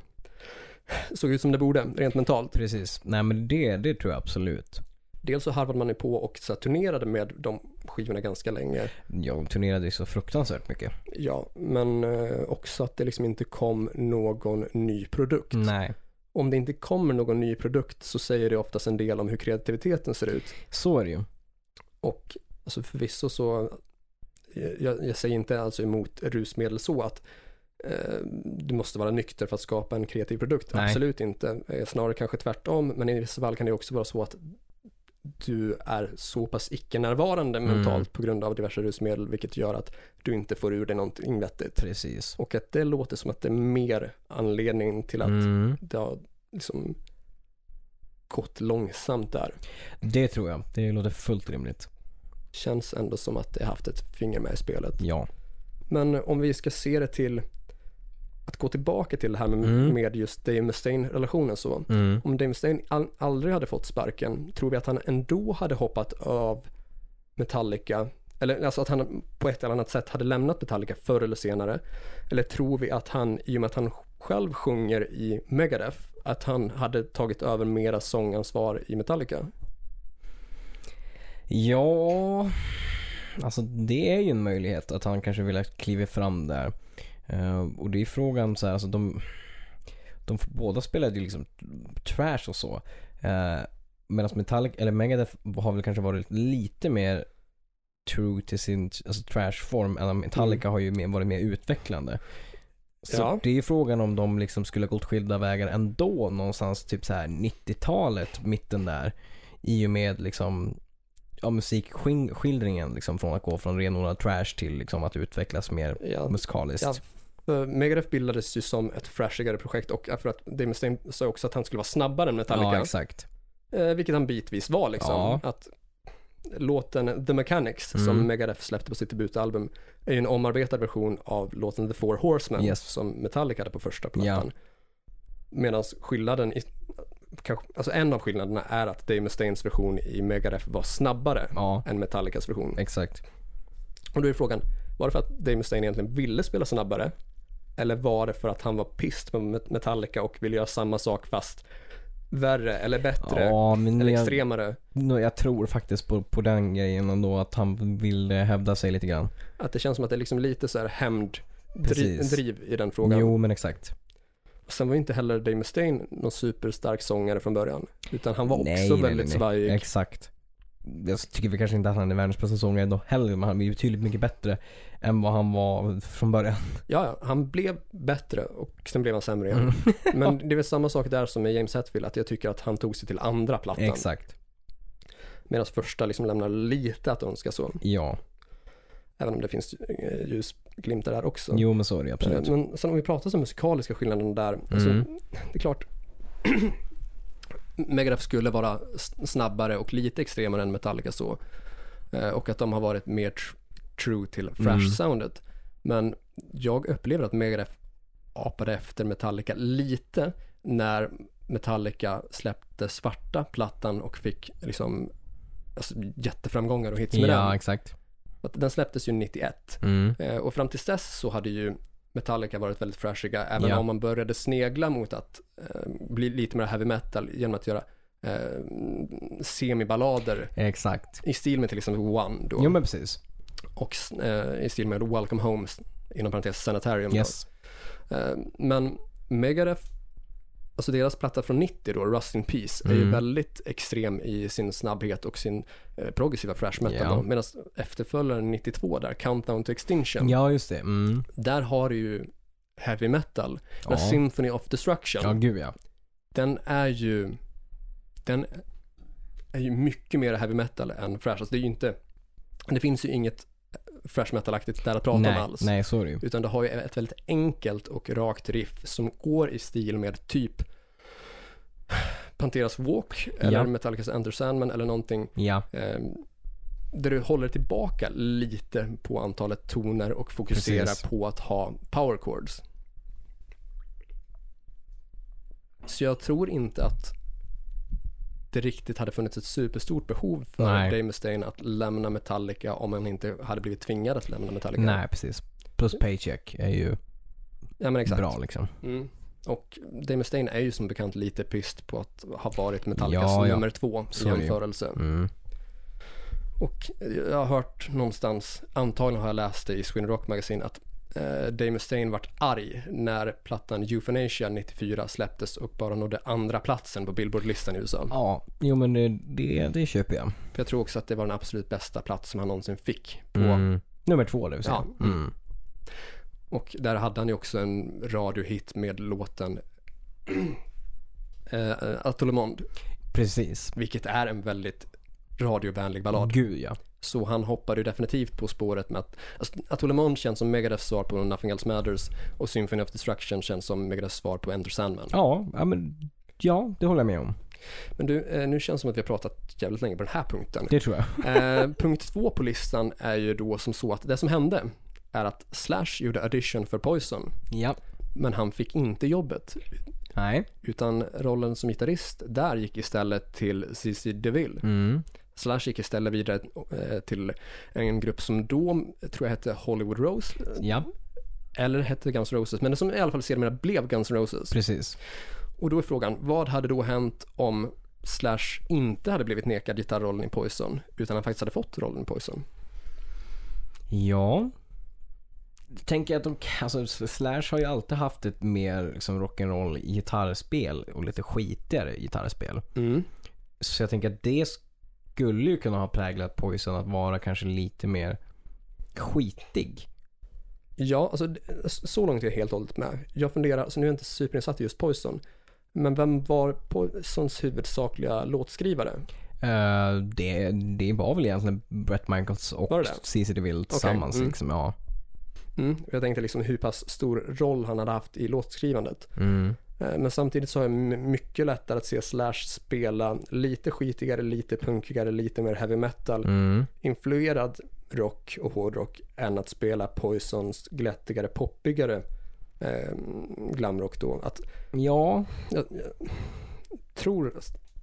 Speaker 2: såg ut som det borde, rent mentalt.
Speaker 1: Precis. Nej men det, det tror jag absolut.
Speaker 2: Dels så harvade man ju på och så här, turnerade med de skivorna ganska länge.
Speaker 1: Jag turnerade ju så fruktansvärt mycket.
Speaker 2: Ja, men eh, också att det liksom inte kom någon ny produkt.
Speaker 1: Nej.
Speaker 2: Om det inte kommer någon ny produkt så säger det oftast en del om hur kreativiteten ser ut.
Speaker 1: Så är det ju.
Speaker 2: Och alltså förvisso så, eh, jag, jag säger inte alltså emot rusmedel så att eh, du måste vara nykter för att skapa en kreativ produkt.
Speaker 1: Nej.
Speaker 2: Absolut inte. Eh, snarare kanske tvärtom, men i vissa fall kan det också vara så att du är så pass icke-närvarande
Speaker 1: Mm.
Speaker 2: mentalt på grund av diverse rusmedel, vilket gör att du inte får ur dig någonting vettigt.
Speaker 1: Precis.
Speaker 2: Och att det låter som att det är mer anledning till att
Speaker 1: Mm.
Speaker 2: det har liksom gått långsamt där.
Speaker 1: Det tror jag. Det låter fullt rimligt.
Speaker 2: Känns ändå som att det har haft ett finger med i spelet.
Speaker 1: Ja.
Speaker 2: Men om vi ska se det till att gå tillbaka till det här med,
Speaker 1: Mm.
Speaker 2: med just Dave Mustaine-relationen så.
Speaker 1: Mm.
Speaker 2: Om Dave Mustaine all, aldrig hade fått sparken, tror vi att han ändå hade hoppat av Metallica? Eller alltså att han på ett eller annat sätt hade lämnat Metallica förr eller senare? Eller tror vi att han, i och med att han själv sjunger i Megadeth, att han hade tagit över mera sångansvar i Metallica?
Speaker 1: Ja, alltså det är ju en möjlighet att han kanske vill kliva fram där. Eh, och det är frågan så här, alltså de, de f- båda spelade ju liksom trash och så. Uh, Medan Metallic, eller Megadeth har väl kanske varit lite mer true till sin alltså trash-form. än att Metallica har ju mer, varit mer utvecklande. Så
Speaker 2: Ja.
Speaker 1: det är ju frågan om de liksom skulle ha gått skilda vägar ändå någonstans typ så här 90-talet, mitten där. I och med liksom ja, musikskildringen liksom från att gå från renodlad trash till liksom att utvecklas mer
Speaker 2: Ja,
Speaker 1: musikaliskt.
Speaker 2: Ja. För Megadeth bildades ju som ett flashigare projekt och för att Dave Mustaine sa också att han skulle vara snabbare än
Speaker 1: Ja,
Speaker 2: Metallica.
Speaker 1: exakt.
Speaker 2: eh, vilket han bitvis var liksom.
Speaker 1: Ja.
Speaker 2: Att låten The Mechanics
Speaker 1: Mm.
Speaker 2: som Megadeth släppte på sitt debutalbum är ju en omarbetad version av låten The Four Horsemen
Speaker 1: Yes.
Speaker 2: som Metallica hade på första plattan. Medan skillnaden, i, kanske, alltså en av skillnaderna är att Dave Mustaines version i Megadeth var snabbare
Speaker 1: Ja,
Speaker 2: än Metallicas version.
Speaker 1: exakt.
Speaker 2: Och då är frågan, var det för att Dave Mustaine egentligen ville spela snabbare? Eller var det för att han var pissed på Met- Metallica och ville göra samma sak fast värre eller bättre?
Speaker 1: Ja, men
Speaker 2: Eller
Speaker 1: jag,
Speaker 2: extremare?
Speaker 1: no, jag tror faktiskt på, på den grejen ändå att han vill eh, hävda sig lite grann.
Speaker 2: Att det känns som att det är liksom lite så här hämnd
Speaker 1: Precis.
Speaker 2: driv i den frågan.
Speaker 1: Jo, men exakt.
Speaker 2: Och sen var ju inte heller Dave Mustaine någon superstark sångare från början. Utan han var också
Speaker 1: Nej, nej, nej,
Speaker 2: väldigt
Speaker 1: nej.
Speaker 2: svajig.
Speaker 1: Exakt. Jag tycker vi kanske inte att han är världens bästa sångare då heller, men han är ju betydligt mycket bättre än vad han var från början.
Speaker 2: Ja, ja, han blev bättre och sen blev han sämre igen.
Speaker 1: Mm.
Speaker 2: Men det är väl samma sak där som med James Hetfield, att jag tycker att han tog sig till andra plattan.
Speaker 1: Exakt.
Speaker 2: Medan första liksom lämnar lite att önska så.
Speaker 1: Ja.
Speaker 2: Även om det finns eh, ljusglimtar där också.
Speaker 1: Jo men så är det ju absolut. Mm.
Speaker 2: Eh, Men sen om vi pratar om musikaliska skillnaden där. Alltså, det är klart. Megadeth skulle vara s- snabbare och lite extremare än Metallica så. Eh, Och att de har varit mer tr- true till
Speaker 1: Mm.
Speaker 2: thrash-soundet. Men jag upplever att Megadeth apade efter Metallica lite när Metallica släppte svarta plattan och fick liksom alltså, jätteframgångar och hits med
Speaker 1: Ja
Speaker 2: den.
Speaker 1: exakt.
Speaker 2: Att Den släpptes ju 91.
Speaker 1: Mm.
Speaker 2: Eh, Och fram tills dess så hade ju Metallica varit väldigt fräschiga, även
Speaker 1: Ja.
Speaker 2: om man började snegla mot att eh, bli lite mer heavy metal genom att göra eh, semiballader
Speaker 1: Exakt.
Speaker 2: i stil med till exempel One då,
Speaker 1: Jo men precis.
Speaker 2: och eh, i stil med Welcome Home, inom parentes Sanitarium.
Speaker 1: Yes.
Speaker 2: Då. Eh, men Megadeth, alltså deras platta från 90 då, Rust in Peace, är ju
Speaker 1: Mm.
Speaker 2: väldigt extrem i sin snabbhet och sin eh, progressiva thrash metal.
Speaker 1: Ja.
Speaker 2: då. Medan efterföljaren 92 där, Countdown to Extinction,
Speaker 1: Ja just det. Mm.
Speaker 2: där har du ju heavy metal.
Speaker 1: Ja.
Speaker 2: Men Symphony of Destruction,
Speaker 1: Ja gud ja.
Speaker 2: den är ju den är ju mycket mer heavy metal än thrash. Alltså det är ju inte, det finns ju inget eh, thrash metal-aktigt där att prata
Speaker 1: nej,
Speaker 2: om alls.
Speaker 1: nej så är det ju.
Speaker 2: Utan det har ju ett väldigt enkelt och rakt riff som går i stil med typ Panteras Walk eller
Speaker 1: Ja.
Speaker 2: Metallicas Enter Sandman eller någonting
Speaker 1: Ja.
Speaker 2: eh, där du håller tillbaka lite på antalet toner och fokuserar
Speaker 1: Precis.
Speaker 2: på att ha power chords. Så jag tror inte att det riktigt hade funnits ett superstort behov för
Speaker 1: Nej.
Speaker 2: Dave Mustaine att lämna Metallica om han inte hade blivit tvingad att lämna Metallica.
Speaker 1: Nej precis. Plus paycheck är ju
Speaker 2: ja, men exakt.
Speaker 1: bra liksom.
Speaker 2: Mm. Och Dave Mustaine är ju som bekant lite pyst på att ha varit Metallicas
Speaker 1: Ja, ja.
Speaker 2: nummer två
Speaker 1: Så
Speaker 2: i
Speaker 1: är det ju.
Speaker 2: jämförelse.
Speaker 1: Mm.
Speaker 2: Och jag har hört någonstans, antagligen har jag läst det i Sweden Rock Magazine, att eh, Dave Mustaine vart arg när plattan Euthanasia 94 släpptes och bara nådde andra platsen på Billboard-listan i USA.
Speaker 1: Ja, jo men det, det, det köper jag.
Speaker 2: För jag tror också att det var den absolut bästa plats som han någonsin fick. På.
Speaker 1: Mm. Nummer två det vill säga.
Speaker 2: Ja.
Speaker 1: Mm.
Speaker 2: Och där hade han ju också en radiohit med låten eh, Atolomond,
Speaker 1: Precis.
Speaker 2: vilket är en väldigt radiovänlig ballad.
Speaker 1: Gud ja.
Speaker 2: Så han hoppade ju definitivt på spåret med att, alltså, att Ole Mond känns som Megadeths svar på Nothing Else Matters och Symphony of Destruction känns som Megadeths svar på Enter Sandman.
Speaker 1: Ja, ja men ja, det håller jag med om.
Speaker 2: Men du, eh, nu känns det som att vi har pratat jävligt länge på den här punkten.
Speaker 1: Det tror jag.
Speaker 2: Eh, punkt två på listan är ju då som så att det som hände är att Slash gjorde audition för Poison,
Speaker 1: Ja.
Speaker 2: men han fick inte jobbet,
Speaker 1: Nej.
Speaker 2: utan rollen som gitarrist där gick istället till CC DeVille.
Speaker 1: Mm.
Speaker 2: Slash gick istället vidare eh, till en grupp som då tror jag hette Hollywood Rose,
Speaker 1: Ja,
Speaker 2: eller hette Guns N' Roses, men som i alla fall sedermera blev Guns N' Roses.
Speaker 1: precis.
Speaker 2: Och då är frågan, vad hade då hänt om Slash inte hade blivit nekad gitarrrollen i Poison, utan han faktiskt hade fått rollen i Poison?
Speaker 1: Ja. Tänker jag att de, alltså Slash har ju alltid haft ett mer liksom, rock'n'roll gitarrspel och lite skitigare gitarrspel.
Speaker 2: Mm.
Speaker 1: Så jag tänker att det skulle ju kunna ha präglat Poison att vara kanske lite mer skitig.
Speaker 2: Ja, alltså d- så långt är jag helt och hållet med. Jag funderar, alltså nu är jag inte superinsatt i just Poison, men vem var Poisons huvudsakliga låtskrivare?
Speaker 1: Eh, det, det var väl egentligen Brett Michaels
Speaker 2: Var
Speaker 1: och
Speaker 2: det det?
Speaker 1: CC DeVille tillsammans.
Speaker 2: mm.
Speaker 1: Liksom, ja.
Speaker 2: Mm. Jag tänkte liksom hur pass stor roll han hade haft i låtskrivandet.
Speaker 1: Mm.
Speaker 2: Eh, Men samtidigt så har jag m- mycket lättare att se Slash spela lite skitigare, lite punkigare, lite mer heavy metal,
Speaker 1: Mm.
Speaker 2: influerad rock och hårdrock än att spela Poisons glättigare, poppigare eh, glamrock då. Att,
Speaker 1: Ja,
Speaker 2: jag, jag tror,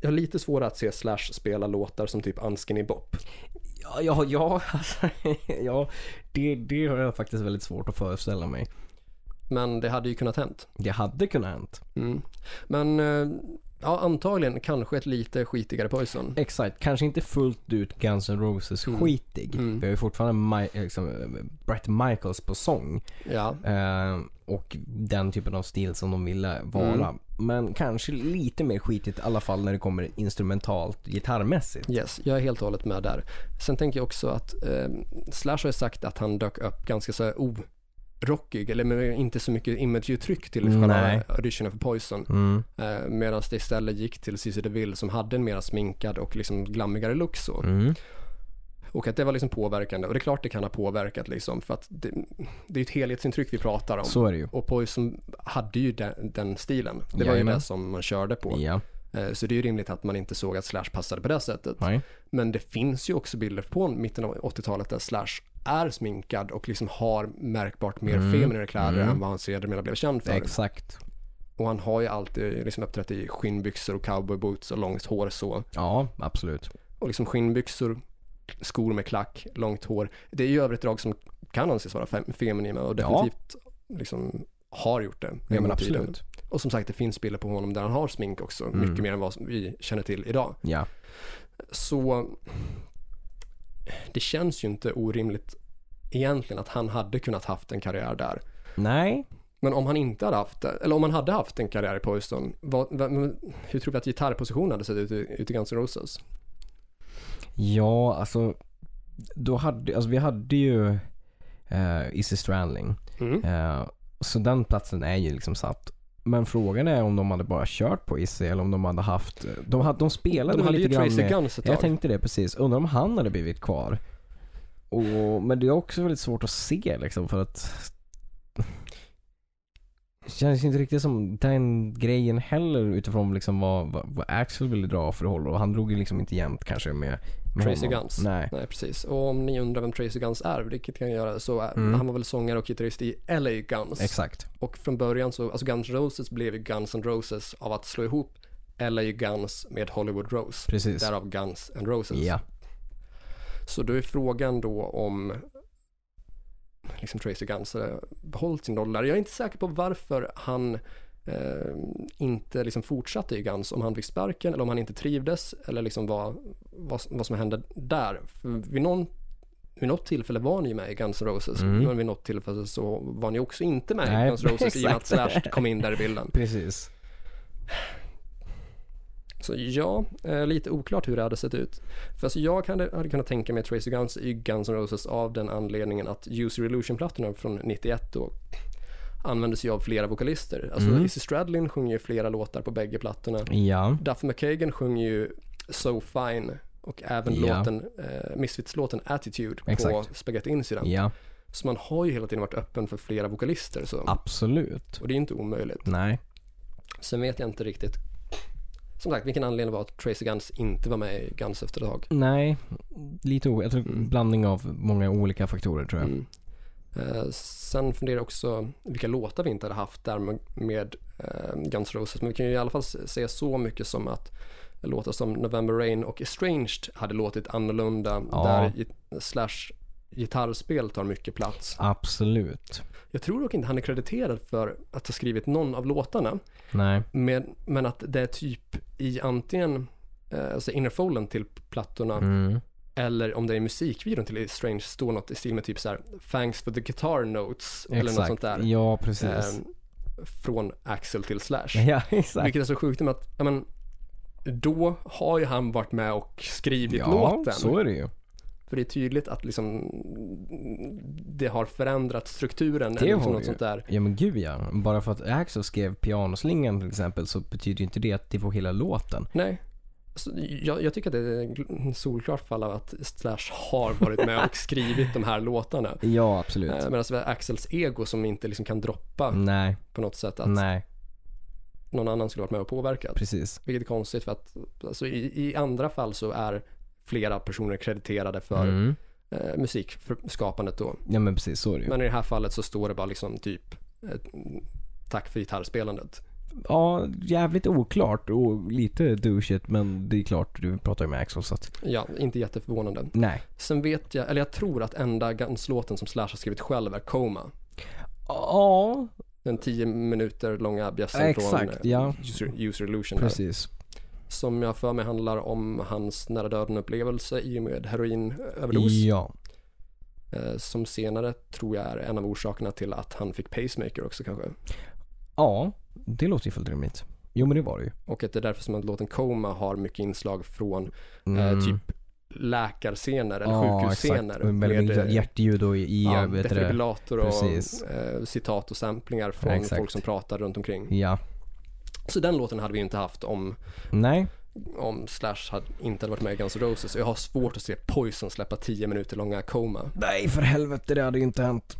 Speaker 2: jag har lite svårare att se Slash spela låtar som typ Unskinny Bop.
Speaker 1: ja, ja, ja, alltså, ja det, det har jag faktiskt väldigt svårt att föreställa mig.
Speaker 2: Men det hade ju kunnat hänt.
Speaker 1: Det hade kunnat hänt.
Speaker 2: Mm. Men eh, ja, antagligen kanske ett lite skitigare Poison.
Speaker 1: Exakt, kanske inte fullt ut Guns N' Roses
Speaker 2: Mm.
Speaker 1: skitig.
Speaker 2: Mm.
Speaker 1: Vi har ju fortfarande Mi- liksom, eh, Bret Michaels på sång.
Speaker 2: Ja,
Speaker 1: Eh, och den typen av stil som de ville vara.
Speaker 2: Mm.
Speaker 1: Men kanske lite mer skitigt i alla fall när det kommer instrumentalt gitarrmässigt.
Speaker 2: yes, jag är helt och hållet med där. Sen tänker jag också att eh, Slash har ju sagt att han dök upp ganska så här orockig, eller med inte så mycket imageuttryck till
Speaker 1: Mm, Nej.
Speaker 2: själva auditionen för Poison.
Speaker 1: Mm.
Speaker 2: Eh, Medan det istället gick till Cissi DeVille som hade en mera sminkad och liksom glammigare look så.
Speaker 1: Mm.
Speaker 2: Och att det var liksom påverkande. Och det är klart det kan ha påverkat liksom för att det, det är ju ett helhetsintryck vi pratar om.
Speaker 1: Så är det ju.
Speaker 2: Och Poison hade ju den, den stilen. Det var ju
Speaker 1: Jajamän.
Speaker 2: det som man körde på.
Speaker 1: Ja.
Speaker 2: Eh, Så det är ju rimligt att man inte såg att Slash passade på det sättet.
Speaker 1: Nej.
Speaker 2: Men det finns ju också bilder på mitten av 80-talet där Slash är sminkad och liksom har märkbart mer
Speaker 1: Mm.
Speaker 2: feminina kläder
Speaker 1: Mm.
Speaker 2: än vad han sedermera blev känd för.
Speaker 1: Exakt.
Speaker 2: Och han har ju alltid liksom uppträtt i skinnbyxor och cowboyboots och långt hår så.
Speaker 1: Ja, absolut.
Speaker 2: Och liksom skinnbyxor, skor med klack, långt hår. Det är ju i övrigt drag som kan anses vara fem- feminina och
Speaker 1: Ja.
Speaker 2: definitivt liksom har gjort det.
Speaker 1: Ja,
Speaker 2: genom
Speaker 1: men
Speaker 2: tiden.
Speaker 1: absolut.
Speaker 2: Och som sagt, det finns bilder på honom där han har smink också,
Speaker 1: Mm.
Speaker 2: mycket mer än vad som vi känner till idag.
Speaker 1: Ja.
Speaker 2: Så det känns ju inte orimligt egentligen att han hade kunnat haft en karriär där.
Speaker 1: Nej.
Speaker 2: Men om han inte hade haft det, eller om han hade haft en karriär i Poison, vad, vad, hur tror vi att gitarrpositionen hade sett ut i, ut i Guns N' Roses?
Speaker 1: Ja, alltså. Då hade, alltså vi hade ju eh, Izzy Strandling.
Speaker 2: Mm.
Speaker 1: Eh, så den platsen är ju liksom satt. Men frågan är om de hade bara kört på Izzy eller om de hade haft, de, hade, de spelade
Speaker 2: De
Speaker 1: väl
Speaker 2: hade ju
Speaker 1: lite grann
Speaker 2: Tracy
Speaker 1: med,
Speaker 2: Guns ett tag.
Speaker 1: Jag tänkte det precis. Undrar om han hade blivit kvar. Och, men det är också väldigt svårt att se liksom för att det känns ju inte riktigt som den grejen heller utifrån liksom vad, vad, vad Axel ville dra för roll och han drog ju liksom inte jämnt kanske med, med
Speaker 2: Tracy
Speaker 1: honom.
Speaker 2: Guns.
Speaker 1: Nej.
Speaker 2: Nej, precis. Och om ni undrar vem Tracy Guns är, vilket kan jag göra, så är,
Speaker 1: Mm.
Speaker 2: han var väl sångare och gitarrist i LA Guns.
Speaker 1: Exakt.
Speaker 2: och från början så, alltså Guns N' Roses blev ju Guns N' Roses av att slå ihop LA Guns med Hollywood Rose.
Speaker 1: Precis.
Speaker 2: Därav Guns N' Roses.
Speaker 1: Ja.
Speaker 2: Så då är frågan då om liksom Tracy Guns eh, behållit sin roll där. Jag är inte säker på varför han eh, inte liksom fortsatte i Guns, om han fick sparken eller om han inte trivdes eller liksom vad, vad, vad som hände där. För vid, någon, vid något tillfälle var han ju med i Guns N' Roses,
Speaker 1: Mm.
Speaker 2: men vid något tillfälle så var han ju också inte med
Speaker 1: Nej,
Speaker 2: i Guns N' Roses i och med att
Speaker 1: exakt.
Speaker 2: Slash kom in där i bilden.
Speaker 1: Precis.
Speaker 2: Så ja, eh, lite oklart hur det hade sett ut. För alltså jag hade, hade kunnat tänka mig Tracy Guns i Guns N' Roses av den anledningen att Use Your Illusion-plattorna från 91 då användes ju av flera vokalister. Alltså
Speaker 1: Mm.
Speaker 2: Izzy Stradlin sjunger ju flera låtar på bägge plattorna.
Speaker 1: Ja.
Speaker 2: Duff McKagan sjunger ju So Fine och även
Speaker 1: Ja.
Speaker 2: låten, eh, Misfits-låten Attitude på
Speaker 1: Exakt.
Speaker 2: Spaghetti Incident.
Speaker 1: Ja.
Speaker 2: Så man har ju hela tiden varit öppen för flera vokalister. Så.
Speaker 1: Absolut.
Speaker 2: Och det är ju inte omöjligt.
Speaker 1: Nej.
Speaker 2: Sen vet jag inte riktigt, som sagt, vilken anledning det var att Tracy Guns inte var med i Guns efter ett tag.
Speaker 1: Nej. Lite o... Jag tror
Speaker 2: Mm.
Speaker 1: blandning av många olika faktorer tror jag.
Speaker 2: Mm. Eh, sen funderar jag också vilka låtar vi inte hade haft där med, med eh, Guns N' Roses. Men vi kan ju i alla fall se se så mycket som att låtar som November Rain och Estranged hade låtit annorlunda.
Speaker 1: Ja.
Speaker 2: Där git- slash gitarrspel tar mycket plats.
Speaker 1: Absolut.
Speaker 2: Jag tror dock inte han är krediterad för att ha skrivit någon av låtarna.
Speaker 1: Nej.
Speaker 2: Men, men att det är typ i antingen eh, alltså innerfolden till plattorna
Speaker 1: Mm.
Speaker 2: eller om det är i musikvideon till Strange står något i stil med typ så här Thanks for the guitar notes eller något sånt
Speaker 1: Exakt.
Speaker 2: där.
Speaker 1: Ja, precis.
Speaker 2: Ehm, från Axel till Slash.
Speaker 1: Ja, exakt.
Speaker 2: Vilket är så sjukt med att, ja men, då har ju han varit med och skrivit typ låten.
Speaker 1: så är det ju.
Speaker 2: För det är tydligt att liksom det har förändrat strukturen
Speaker 1: Det
Speaker 2: eller
Speaker 1: har
Speaker 2: liksom
Speaker 1: det
Speaker 2: något
Speaker 1: ju.
Speaker 2: sånt där.
Speaker 1: Ja men gud ja. Bara för att Axel skrev pianoslingan till exempel så betyder ju inte det att de får hela låten.
Speaker 2: Nej. Så jag, jag tycker att det är en gl- solklart fall av att Slash har varit med och skrivit de här låtarna.
Speaker 1: Ja, absolut.
Speaker 2: Eh, Medan Axels ego som inte liksom kan droppa
Speaker 1: Nej,
Speaker 2: på något sätt att
Speaker 1: nej,
Speaker 2: någon annan skulle varit med och påverkat.
Speaker 1: precis.
Speaker 2: Vilket är konstigt för att alltså, i, i andra fall så är flera personer krediterade för
Speaker 1: Mm.
Speaker 2: eh, musikskapandet då.
Speaker 1: Ja men precis, så är det ju.
Speaker 2: Men i det här fallet så står det bara liksom typ eh, tack för gitarrspelandet.
Speaker 1: Ja, jävligt oklart och lite douchigt men det är klart, du pratar ju med Axel så att
Speaker 2: Ja, inte jätteförvånande.
Speaker 1: nej.
Speaker 2: Sen vet jag, eller jag tror att enda Guns-låten som Slash har skrivit själv är Coma.
Speaker 1: Ja,
Speaker 2: Den 10 minuter långa bjässen
Speaker 1: Ja,
Speaker 2: från
Speaker 1: exakt,
Speaker 2: eh,
Speaker 1: ja.
Speaker 2: user, user illusion. där.
Speaker 1: Precis.
Speaker 2: Som jag för mig handlar om hans nära döden upplevelse i och med heroinöverdos.
Speaker 1: Ja.
Speaker 2: Eh, som senare tror jag är en av orsakerna till att han fick pacemaker också kanske.
Speaker 1: Ja, det låter ju fullt rimligt. Jo men det var det ju.
Speaker 2: Och att det är därför som att låten Coma har mycket inslag från eh, typ läkarscener eller
Speaker 1: Mm. Ja,
Speaker 2: sjukhusscener.
Speaker 1: exakt. Med, med,
Speaker 2: eh,
Speaker 1: hjärtljud och i,
Speaker 2: ja,
Speaker 1: ja, vet du det.
Speaker 2: defibrillator
Speaker 1: Precis.
Speaker 2: och eh, citat och samplingar från
Speaker 1: Exakt.
Speaker 2: folk som pratar runt omkring.
Speaker 1: Ja.
Speaker 2: Så den låten hade vi inte haft om,
Speaker 1: Nej.
Speaker 2: om Slash hade, inte hade varit med i Guns N' Roses. Jag har svårt att se Poison släppa 10 minuter långa Coma.
Speaker 1: Nej för helvete, det hade ju inte hänt.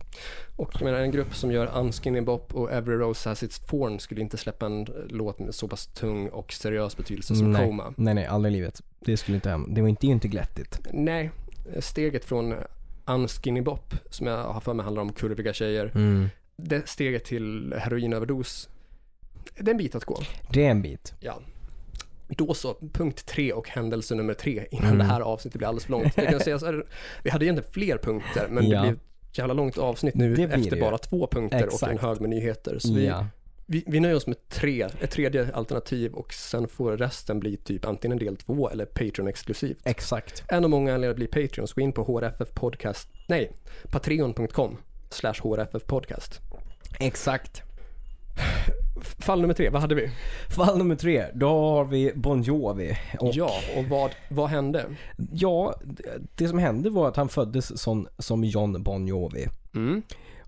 Speaker 2: Och jag menar en grupp som gör Unskinny Bop och Every Rose Has Its Thorn skulle inte släppa en låt med så pass tung och seriös betydelse som
Speaker 1: nej.
Speaker 2: Coma.
Speaker 1: nej, nej, aldrig i livet. Det skulle inte hända. Det var inte, det är ju inte glättigt.
Speaker 2: Nej, steget från Unskinny Bop, som jag har för mig handlar om kurviga tjejer, det steget till heroinöverdos, det är en bit att gå.
Speaker 1: Det är en bit.
Speaker 2: Ja. Då så, punkt tre och händelse nummer tre innan
Speaker 1: Mm.
Speaker 2: det här avsnittet blir alldeles för långt. Jag kan säga så här, vi hade egentligen fler punkter, men
Speaker 1: Ja.
Speaker 2: det blev ett jävla långt avsnitt nu
Speaker 1: Det blir
Speaker 2: efter
Speaker 1: det ju.
Speaker 2: bara två punkter och en
Speaker 1: Exakt.
Speaker 2: hög med nyheter. Så vi,
Speaker 1: ja.
Speaker 2: vi, vi nöjer oss med tre, ett tredje alternativ och sen får resten bli typ antingen del två eller Patreon-exklusivt.
Speaker 1: Exakt.
Speaker 2: En av många anledningar att bli Patreon, så gå in på HRFF Podcast, nej, patreon.com slash HRFF Podcast.
Speaker 1: Exakt.
Speaker 2: F- Fall nummer tre, vad hade vi?
Speaker 1: Fall nummer tre, då har vi Bon Jovi. Och ja.
Speaker 2: Ja, och vad, vad hände?
Speaker 1: det- det som hände var att han föddes som, som John Bon Jovi.
Speaker 2: Mm.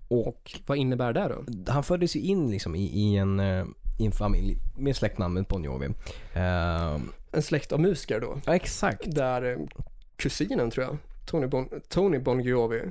Speaker 1: Och-
Speaker 2: Och vad innebär det då?
Speaker 1: Han föddes ju in liksom i, i, en, eh, i en familj med släktnamnet Bon Jovi. Eh,
Speaker 2: En släkt av musiker då,
Speaker 1: ja, exakt.
Speaker 2: där eh, kusinen tror jag, Tony Bon, Tony bon Jovi,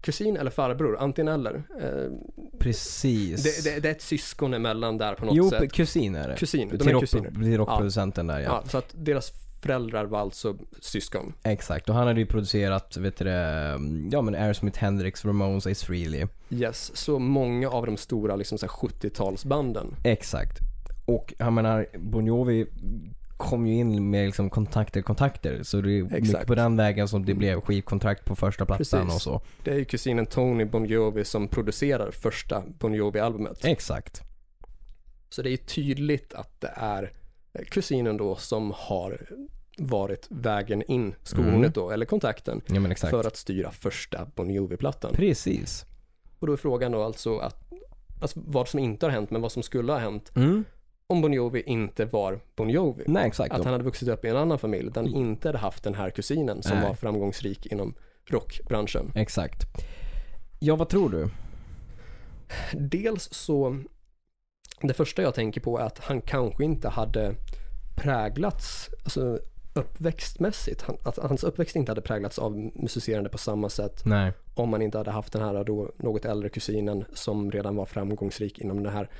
Speaker 2: kusin eller farbror, antingen eller. Eh,
Speaker 1: Precis.
Speaker 2: det, det, det är ett syskon emellan där på något
Speaker 1: jo,
Speaker 2: sätt.
Speaker 1: kusin är det.
Speaker 2: Kusin, de
Speaker 1: till,
Speaker 2: är
Speaker 1: rock,
Speaker 2: kusiner.
Speaker 1: till rockproducenten där ja.
Speaker 2: Ja, så att deras föräldrar var alltså syskon.
Speaker 1: Exakt. Och han hade ju producerat, vet du det, ja men Aerosmith, Hendrix, Ramones, Ace Frehley.
Speaker 2: Yes, så många av de stora liksom, så här 70-talsbanden.
Speaker 1: Exakt. Och jag menar, Bon Jovi kom ju in med liksom kontakter, kontakter. Så det är mycket
Speaker 2: Exakt. Mm.
Speaker 1: på den vägen som det blev skivkontrakt på första plattan
Speaker 2: Precis.
Speaker 1: och så.
Speaker 2: Det är ju kusinen Tony Bon Jovi som producerar första Bon Jovi-albumet.
Speaker 1: Exakt.
Speaker 2: Så det är tydligt att det är kusinen då som har varit vägen in, skohornet
Speaker 1: Mm.
Speaker 2: då, eller kontakten,
Speaker 1: Ja men exakt.
Speaker 2: för att styra första Bon Jovi-plattan.
Speaker 1: Precis.
Speaker 2: Och då är frågan då alltså att Alltså vad som inte har hänt, men vad som skulle ha hänt
Speaker 1: Mm.
Speaker 2: om Bon Jovi inte var Bon Jovi.
Speaker 1: Nej exakt.
Speaker 2: Att han hade vuxit upp i en annan familj där han inte hade haft den här kusinen som
Speaker 1: Mm. Nej.
Speaker 2: var framgångsrik inom rockbranschen.
Speaker 1: Exakt. Ja vad tror du?
Speaker 2: Dels så, det första jag tänker på är att han kanske inte hade präglats, alltså uppväxtmässigt, han, att hans uppväxt inte hade präglats av musicerande på samma sätt
Speaker 1: Nej.
Speaker 2: om man inte hade haft den här då något äldre kusinen som redan var framgångsrik inom den här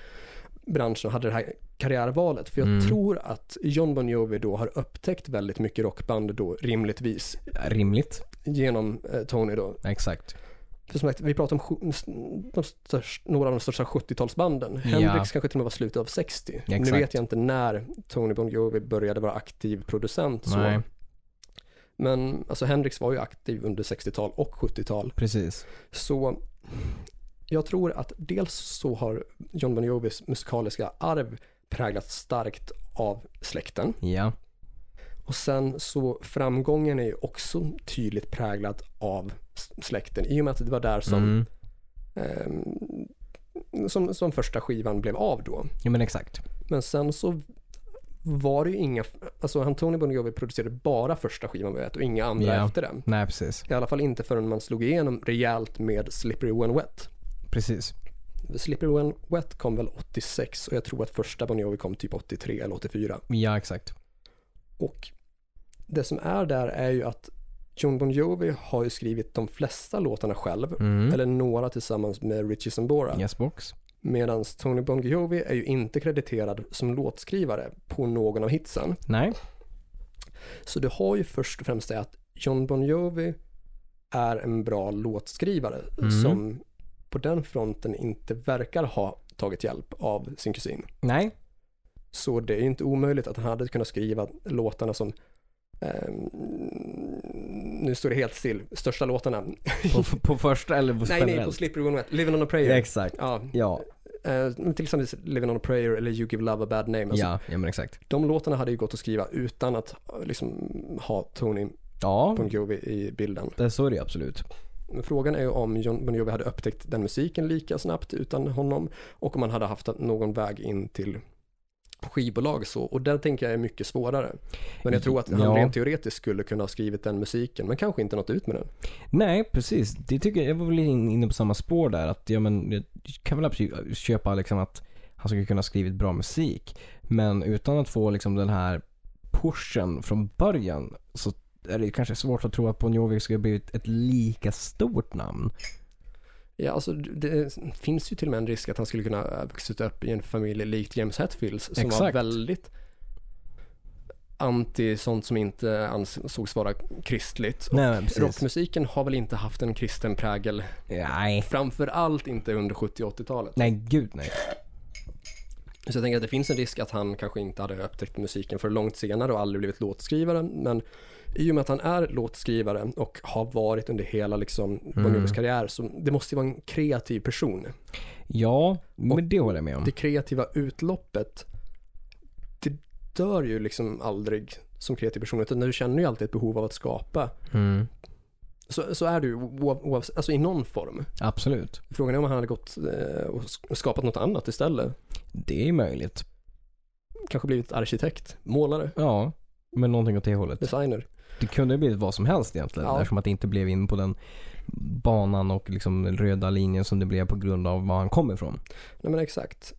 Speaker 2: branschen och hade det här karriärvalet. För jag
Speaker 1: Mm.
Speaker 2: tror att John Bon Jovi då har upptäckt väldigt mycket rockband då rimligtvis
Speaker 1: Rimligt.
Speaker 2: genom eh, Tony då.
Speaker 1: Exakt.
Speaker 2: För som sagt, vi pratar om sju- de största, några av de största 70-talsbanden. Hendrix kanske till och med var slutet av 60. Nu
Speaker 1: Exakt.
Speaker 2: vet jag inte när Tony Bon Jovi började vara aktiv producent.
Speaker 1: Nej.
Speaker 2: Så. Men alltså Hendrix var ju aktiv under 60-tal och 70-tal.
Speaker 1: Precis.
Speaker 2: Så jag tror att dels så har John Bon Jovis musikaliska arv präglats starkt av släkten.
Speaker 1: Ja.
Speaker 2: Och sen så framgången är ju också tydligt präglad av s- släkten. I och med att det var där som
Speaker 1: Mm.
Speaker 2: ehm, som, som första skivan blev av då.
Speaker 1: Ja men exakt.
Speaker 2: Men sen så var det ju inga, alltså Antoni Bon Jovi producerade bara första skivan vi vet och inga andra
Speaker 1: Ja.
Speaker 2: efter den.
Speaker 1: Nej precis.
Speaker 2: I alla fall inte förrän man slog igenom rejält med Slippery When Wet.
Speaker 1: Precis.
Speaker 2: Slippery When Wet kom väl 86 och jag tror att första Bon Jovi kom typ 83 eller 84.
Speaker 1: Ja exakt.
Speaker 2: Och det som är där är ju att John Bon Jovi har ju skrivit de flesta låtarna själv,
Speaker 1: Mm.
Speaker 2: eller några tillsammans med Richie Sambora.
Speaker 1: Yes box.
Speaker 2: Medan Tony Bon Jovi är ju inte krediterad som låtskrivare på någon av hitsen.
Speaker 1: Nej.
Speaker 2: Så du har ju först och främst det att John Bon Jovi är en bra låtskrivare
Speaker 1: Mm.
Speaker 2: som på den fronten inte verkar ha tagit hjälp av sin kusin.
Speaker 1: Nej.
Speaker 2: Så det är ju inte omöjligt att han hade kunnat skriva låtarna som ehm, nu står det helt still, största låtarna.
Speaker 1: På, på första eller på
Speaker 2: nej, nej, på
Speaker 1: generellt?
Speaker 2: Slippery When Wet, Living on a Prayer.
Speaker 1: Ja, Exakt.
Speaker 2: Ja,
Speaker 1: Ja.
Speaker 2: eh, till exempel Living on a prayer eller You give love a bad name. Alltså,
Speaker 1: Ja, ja men exakt.
Speaker 2: De låtarna hade ju gått att skriva utan att eh, liksom, ha Tony
Speaker 1: Ja,
Speaker 2: Bon Jovi i bilden.
Speaker 1: det, så är det ju absolut.
Speaker 2: Men frågan är ju om John Bon Jovi hade upptäckt den musiken lika snabbt utan honom och om han hade haft någon väg in till skivbolag så. Och den tänker jag är mycket svårare. Men jag tror att han
Speaker 1: Ja.
Speaker 2: rent teoretiskt skulle kunna ha skrivit den musiken men kanske inte nått ut med den.
Speaker 1: Nej, precis. Det tycker jag, jag var väl in- inne på samma spår där. Att, ja, men, jag kan väl absolut köpa liksom att han skulle kunna ha skrivit bra musik. Men utan att få liksom den här pushen från början så är det ju kanske svårt att tro att Bon Jovi skulle ha blivit ett lika stort namn.
Speaker 2: Ja, alltså det finns ju till och med en risk att han skulle kunna ha vuxit upp i en familj likt James Hetfields som var
Speaker 1: Exakt.
Speaker 2: väldigt anti sånt som inte ansågs vara kristligt. Och
Speaker 1: Nej, men precis.
Speaker 2: Rockmusiken har väl inte haft en kristen prägel,
Speaker 1: Nej.
Speaker 2: framför allt inte under 70 och 80-talet.
Speaker 1: Nej, gud nej.
Speaker 2: Så jag tänker att det finns en risk att han kanske inte hade upptäckt musiken för långt senare och aldrig blivit låtskrivare. Men i och med att han är låtskrivare och har varit under hela liksom,
Speaker 1: Mm.
Speaker 2: Bon Jovis karriär, så det måste ju vara en kreativ person.
Speaker 1: Ja, men det håller jag med om.
Speaker 2: det kreativa utloppet, det dör ju liksom aldrig som kreativ person, utan du känner ju alltid ett behov av att skapa.
Speaker 1: Mm,
Speaker 2: Så, så är du oavsett, alltså i någon form.
Speaker 1: absolut.
Speaker 2: Frågan är om han hade gått eh, och sk- skapat något annat istället.
Speaker 1: Det är möjligt.
Speaker 2: Kanske blivit arkitekt, målare,
Speaker 1: Ja, men någonting åt det hållet.
Speaker 2: designer.
Speaker 1: Det kunde ha blivit vad som helst egentligen
Speaker 2: Ja.
Speaker 1: eftersom att det inte blev in på den banan och liksom den röda linjen som det blev på grund av var han kom ifrån.
Speaker 2: Nej men exakt.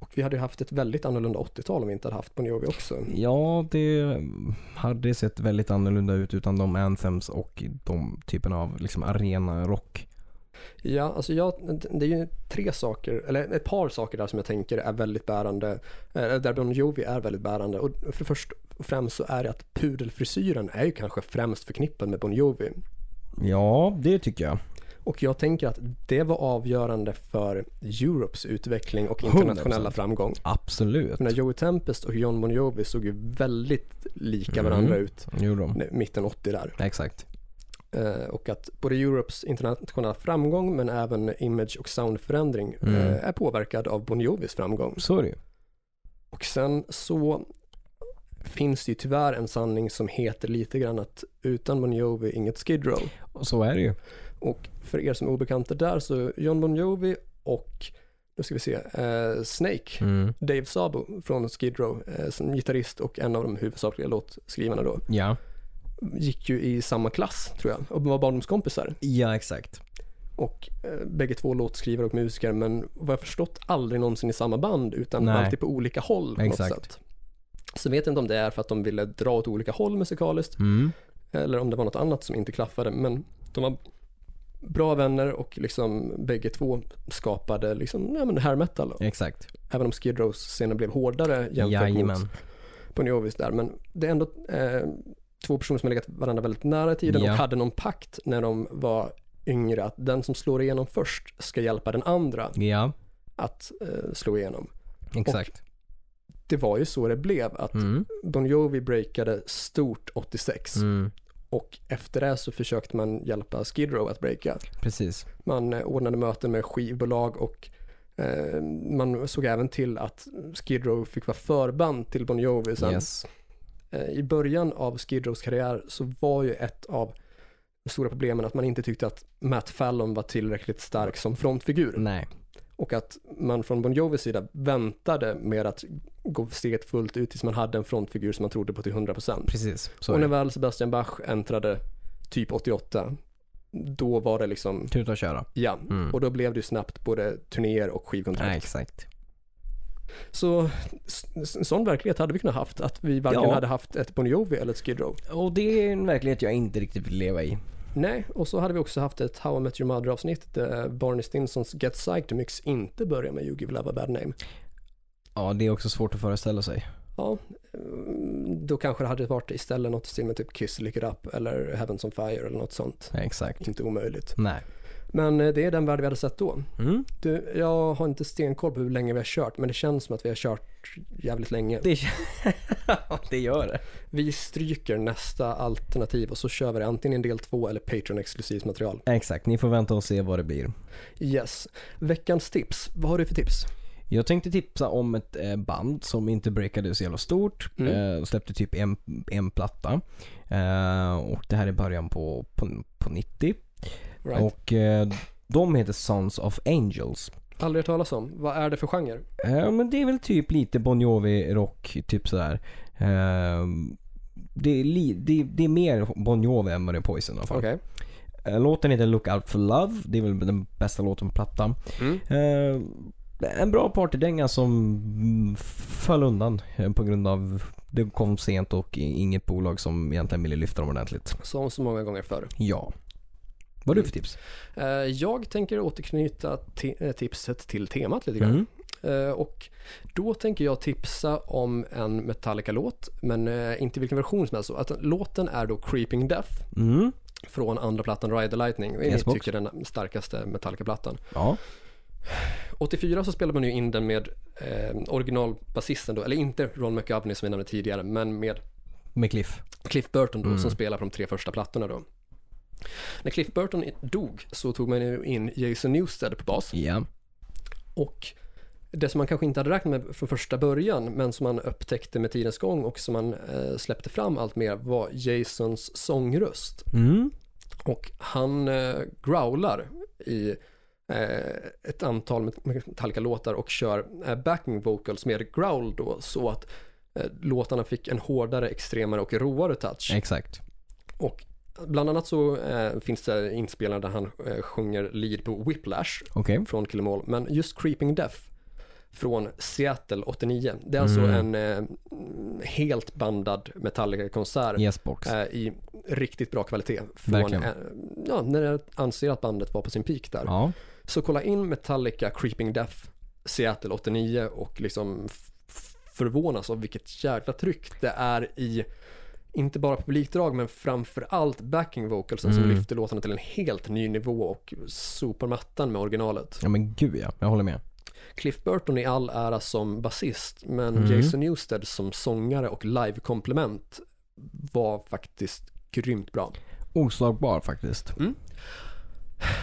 Speaker 2: Och vi hade ju haft ett väldigt annorlunda 80-tal om vi inte hade haft Bon Jovi också.
Speaker 1: Ja, det hade sett väldigt annorlunda ut utan de anthems och de typen av liksom arenarock.
Speaker 2: Ja, alltså jag, det är ju tre saker, eller ett par saker där som jag tänker är väldigt bärande, eh, där Bon Jovi är väldigt bärande. Och för först och främst så är det att pudelfrisyren är ju kanske främst förknippad med Bon Jovi.
Speaker 1: Ja, det tycker jag.
Speaker 2: Och jag tänker att det var avgörande för Europes utveckling och internationella
Speaker 1: 100%.
Speaker 2: framgång.
Speaker 1: Absolut.
Speaker 2: Jag menar, Joey Tempest och John Bon Jovi såg ju väldigt lika varandra
Speaker 1: Mm.
Speaker 2: ut
Speaker 1: Jo då.
Speaker 2: nu, mitten 80 där.
Speaker 1: Exakt.
Speaker 2: Eh, och att både Europes internationella framgång men även image och soundförändring
Speaker 1: Mm.
Speaker 2: eh, är påverkad av Bon Jovis framgång.
Speaker 1: Så är det ju.
Speaker 2: Och sen så finns det ju tyvärr en sanning som heter lite grann att utan Bon Jovi inget Skid Row.
Speaker 1: Och Så är det ju.
Speaker 2: Och för er som är obekanta där så John Bon Jovi och, nu ska vi se, eh, Snake,
Speaker 1: Mm.
Speaker 2: Dave Sabo från Skid Row, eh, som gitarrist och en av de huvudsakliga låtskrivarna då,
Speaker 1: Ja.
Speaker 2: gick ju i samma klass tror jag och var barndomskompisar.
Speaker 1: Ja, exakt.
Speaker 2: Och eh, bägge två låtskrivare och musiker men vad jag förstått aldrig någonsin i samma band utan
Speaker 1: Nej.
Speaker 2: alltid på olika håll på
Speaker 1: Exakt.
Speaker 2: något sätt. Så vet jag inte om det är för att de ville dra åt olika håll musikaliskt
Speaker 1: Mm.
Speaker 2: eller om det var något annat som inte klaffade men de var bra vänner och liksom bägge två skapade liksom, ja men hair metal.
Speaker 1: Exakt.
Speaker 2: Även om Skid Rows senare blev hårdare jämfört mot
Speaker 1: Jajamän.
Speaker 2: Bon Jovis där men det är ändå eh, två personer som har legat varandra väldigt nära i tiden
Speaker 1: Ja.
Speaker 2: och hade någon pakt när de var yngre att den som slår igenom först ska hjälpa den andra
Speaker 1: Ja,
Speaker 2: att eh, slå igenom.
Speaker 1: exakt.
Speaker 2: Det var ju så det blev att
Speaker 1: Mm.
Speaker 2: Bon Jovi breakade stort 86
Speaker 1: Mm.
Speaker 2: och efter det så försökte man hjälpa Skid Row att breaka.
Speaker 1: Precis.
Speaker 2: Man eh, ordnade möten med skivbolag och eh, man såg även till att Skid Row fick vara förband till Bon Jovi sen.
Speaker 1: Yes.
Speaker 2: Eh, I början av Skid Rows karriär så var ju ett av de stora problemen att man inte tyckte att Matt Fallon var tillräckligt stark som frontfigur
Speaker 1: Nej.
Speaker 2: och att man från Bon Jovis sida väntade med att gå steget fullt ut tills man hade en frontfigur som man trodde på till 100%.
Speaker 1: Precis. Så
Speaker 2: Och
Speaker 1: är
Speaker 2: när
Speaker 1: det.
Speaker 2: väl Sebastian Bach äntrade typ 88, då var det liksom
Speaker 1: Tuta och köra.
Speaker 2: Ja,
Speaker 1: Mm.
Speaker 2: och då blev det ju snabbt både turnéer och skivkontrakt.
Speaker 1: Nej, exakt.
Speaker 2: Så s- s- en sån verklighet hade vi kunnat haft, att vi varken
Speaker 1: Ja.
Speaker 2: hade haft ett Bon Jovi eller ett Skid Row.
Speaker 1: Och det är en verklighet jag inte riktigt vill leva i.
Speaker 2: Nej, och så hade vi också haft ett How I Met Your Mother-avsnitt där Barney Stinsons Get Psyched Mix inte börjar med You Give Love a Bad Name.
Speaker 1: Ja, det är också svårt att föreställa sig.
Speaker 2: Ja, mm, då kanske det hade varit istället något i stil med typ Kiss Lick It Up eller Heavens on Fire eller något sånt.
Speaker 1: Nej, exakt.
Speaker 2: Inte omöjligt.
Speaker 1: Nej.
Speaker 2: Men eh, det är den värld vi hade sett då.
Speaker 1: Mm.
Speaker 2: Du, jag har inte stenkoll på hur länge vi har kört, men det känns som att vi har kört jävligt länge.
Speaker 1: Det, det gör det.
Speaker 2: Vi stryker nästa alternativ och så kör vi det antingen del två eller Patreon-exklusivt material.
Speaker 1: Exakt, ni får vänta och se vad det blir.
Speaker 2: Yes. Veckans tips. Vad har du för tips?
Speaker 1: Jag tänkte tipsa om ett eh, band som inte breakade så jävla stort.
Speaker 2: Mm.
Speaker 1: Eh, släppte typ en, en platta. Eh, och det här är början på, på, på 90.
Speaker 2: Right.
Speaker 1: Och eh, de heter Sons of Angels.
Speaker 2: Aldrig hört talas om. Vad är det för genre?
Speaker 1: Eh, men det är väl typ lite Bon Jovi-rock, typ sådär. Eh, det, är li, det, det är mer Bon Jovi än vad det är Poison i alla fall.
Speaker 2: Okej.
Speaker 1: Eh, Låten heter Look Out For Love. Det är väl den bästa låten på plattan.
Speaker 2: Mm.
Speaker 1: Eh, en bra partydänga som mm, föll undan eh, på grund av det kom sent och i- inget bolag som egentligen ville lyfta dem ordentligt.
Speaker 2: Som så många gånger förr.
Speaker 1: Ja. Vad har du för tips?
Speaker 2: Eh, Jag tänker återknyta te- eh, tipset till temat lite grann. Eh, Och då tänker jag tipsa om en Metallica-låt, men eh, inte vilken version som helst. Att låten är då Creeping Death
Speaker 1: Mm.
Speaker 2: från andra plattan Ride the Lightning. Och
Speaker 1: Yes,
Speaker 2: jag
Speaker 1: box.
Speaker 2: tycker den starkaste Metallica-plattan.
Speaker 1: Ja.
Speaker 2: 84 så spelade man ju in den med eh, originalbasisten då, eller inte Ron McGovney som vi nämnde tidigare, men med
Speaker 1: Med Cliff.
Speaker 2: Cliff Burton då,
Speaker 1: Mm.
Speaker 2: som spelar på de tre första plattorna då. När Cliff Burton i- dog så tog man ju in Jason Newsted på bas
Speaker 1: Ja.
Speaker 2: och det som man kanske inte hade räknat med från första början men som man upptäckte med tidens gång och som man eh, släppte fram allt mer var Jasons sångröst.
Speaker 1: Mm.
Speaker 2: Och han eh, growlar i eh, ett antal Metallica-låtar och kör eh, backing vocals med growl då så att eh, låtarna fick en hårdare, extremare och råare touch.
Speaker 1: Exakt.
Speaker 2: Och bland annat så eh, finns det inspelningar där han eh, sjunger lead på Whiplash
Speaker 1: Okej.
Speaker 2: från Kill 'Em All, men just Creeping Death från Seattle 89. Det är alltså
Speaker 1: Mm.
Speaker 2: en eh, helt bandad Metallica-konsert
Speaker 1: Yes box.
Speaker 2: eh, i riktigt bra kvalitet. Från,
Speaker 1: Verkligen.
Speaker 2: eh, ja, när jag anser att bandet var på sin peak där.
Speaker 1: Ja.
Speaker 2: Så kolla in Metallica Creeping Death Seattle 89 och liksom f- f- förvånas av vilket jävla tryck det är i inte bara publikdrag men framför allt backing vocalsen som
Speaker 1: Mm.
Speaker 2: lyfter låtarna till en helt ny nivå och sopar mattan med originalet.
Speaker 1: ja men gud ja. Jag håller med.
Speaker 2: Cliff Burton i all ära som basist men
Speaker 1: Mm.
Speaker 2: Jason Newsted som sångare och live-komplement var faktiskt grymt bra.
Speaker 1: Oslagbar faktiskt.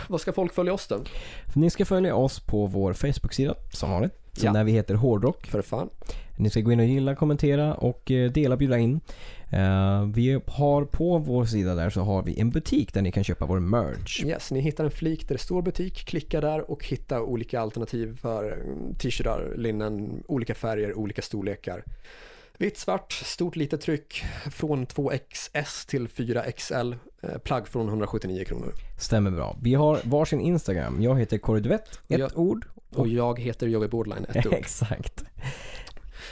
Speaker 2: Vad ska folk följa oss då?
Speaker 1: Ni ska följa oss på vår Facebook-sida som vanligt.
Speaker 2: Ja.
Speaker 1: Där vi heter Hårdrock.
Speaker 2: För fan.
Speaker 1: Ni ska gå in och gilla, kommentera och eh, dela, bjuda in. Eh, Vi har på vår sida där så har vi en butik där ni kan köpa vår merch.
Speaker 2: Yes, ni hittar en flik där det står butik, klicka där och hitta olika alternativ för mm, t-shirtar, linnen, olika färger, olika storlekar. Vitt, svart, stort, litet tryck, från 2XS till 4XL, eh, plagg från 179 kronor.
Speaker 1: Stämmer bra. Vi har varsin Instagram. Jag heter Korridvett, ett
Speaker 2: Jag-
Speaker 1: ord.
Speaker 2: Och jag heter Joey Bordline, ett ord.
Speaker 1: Exakt.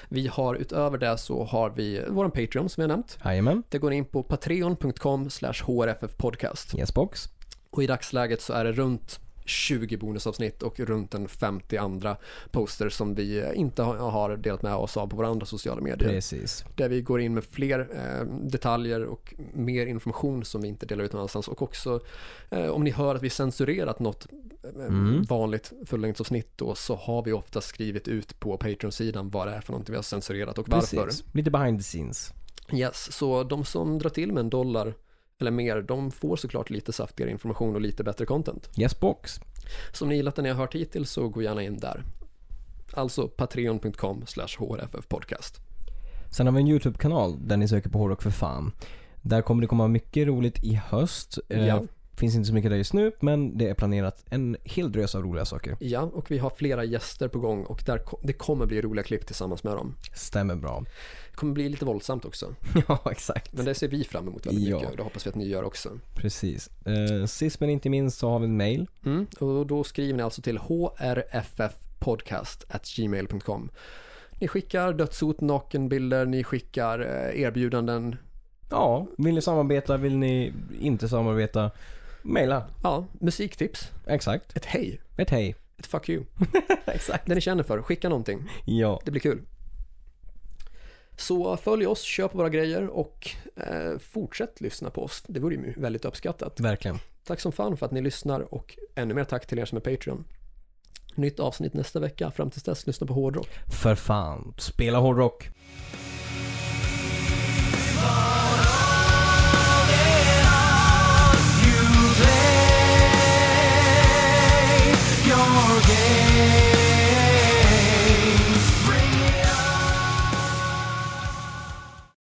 Speaker 2: Vi har utöver det så har vi vår Patreon som vi har nämnt.
Speaker 1: Jajamän.
Speaker 2: Det går in på patreon.com slash hrffpodcast.
Speaker 1: Yesbox.
Speaker 2: Och i dagsläget så är det runt 20 bonusavsnitt och runt en 50 andra poster som vi inte har- har delat med oss av på våra andra sociala medier.
Speaker 1: Precis.
Speaker 2: Där vi går in med fler eh, detaljer och mer information som vi inte delar ut någon annanstans. Och också eh, om ni hör att vi censurerat något eh,
Speaker 1: Mm.
Speaker 2: vanligt fullängdsavsnitt då så har vi ofta skrivit ut på Patreon-sidan vad det är för någonting vi har censurerat och varför.
Speaker 1: Precis. Lite behind the scenes.
Speaker 2: Yes, så de som drar till med en dollar eller mer, de får såklart lite saftigare information och lite bättre content.
Speaker 1: Yesbox.
Speaker 2: Så om ni gillat det ni har hört hittills så gå gärna in där. Alltså patreon.com slash hrffpodcast.
Speaker 1: Sen har vi en YouTube-kanal där ni söker på Hårdrock för fan. Där kommer det komma mycket roligt i höst. Eh,
Speaker 2: Ja.
Speaker 1: Finns inte så mycket där just nu, men det är planerat en hel drös av roliga saker.
Speaker 2: Ja, och vi har flera gäster på gång och där ko- det kommer bli roliga klipp tillsammans med dem.
Speaker 1: Stämmer bra.
Speaker 2: Det kommer bli lite våldsamt också,
Speaker 1: ja, exakt.
Speaker 2: men det ser vi fram emot väldigt
Speaker 1: Ja.
Speaker 2: mycket och det hoppas vi att ni gör också.
Speaker 1: Precis. Eh, sist men inte minst så har vi en mail.
Speaker 2: Mm, och då skriver ni alltså till hrffpodcast.gmail.com. Ni skickar dödshot, nakenbilder, ni skickar eh, erbjudanden.
Speaker 1: Ja, vill ni samarbeta? Vill ni inte samarbeta? Maila.
Speaker 2: Ja, musiktips,
Speaker 1: Exakt.
Speaker 2: ett hej,
Speaker 1: Ett hej.
Speaker 2: ett fuck you.
Speaker 1: Exakt.
Speaker 2: Det ni känner för, skicka någonting.
Speaker 1: Ja.
Speaker 2: Det blir kul. Så följ oss, köp våra grejer och eh, fortsätt lyssna på oss. Det vore ju väldigt uppskattat.
Speaker 1: Verkligen.
Speaker 2: Tack som fan för att ni lyssnar och ännu mer tack till er som är Patreon. Nytt avsnitt nästa vecka. Fram tills dess, lyssna på hårdrock.
Speaker 1: För fan, spela hårdrock.
Speaker 3: You play your game.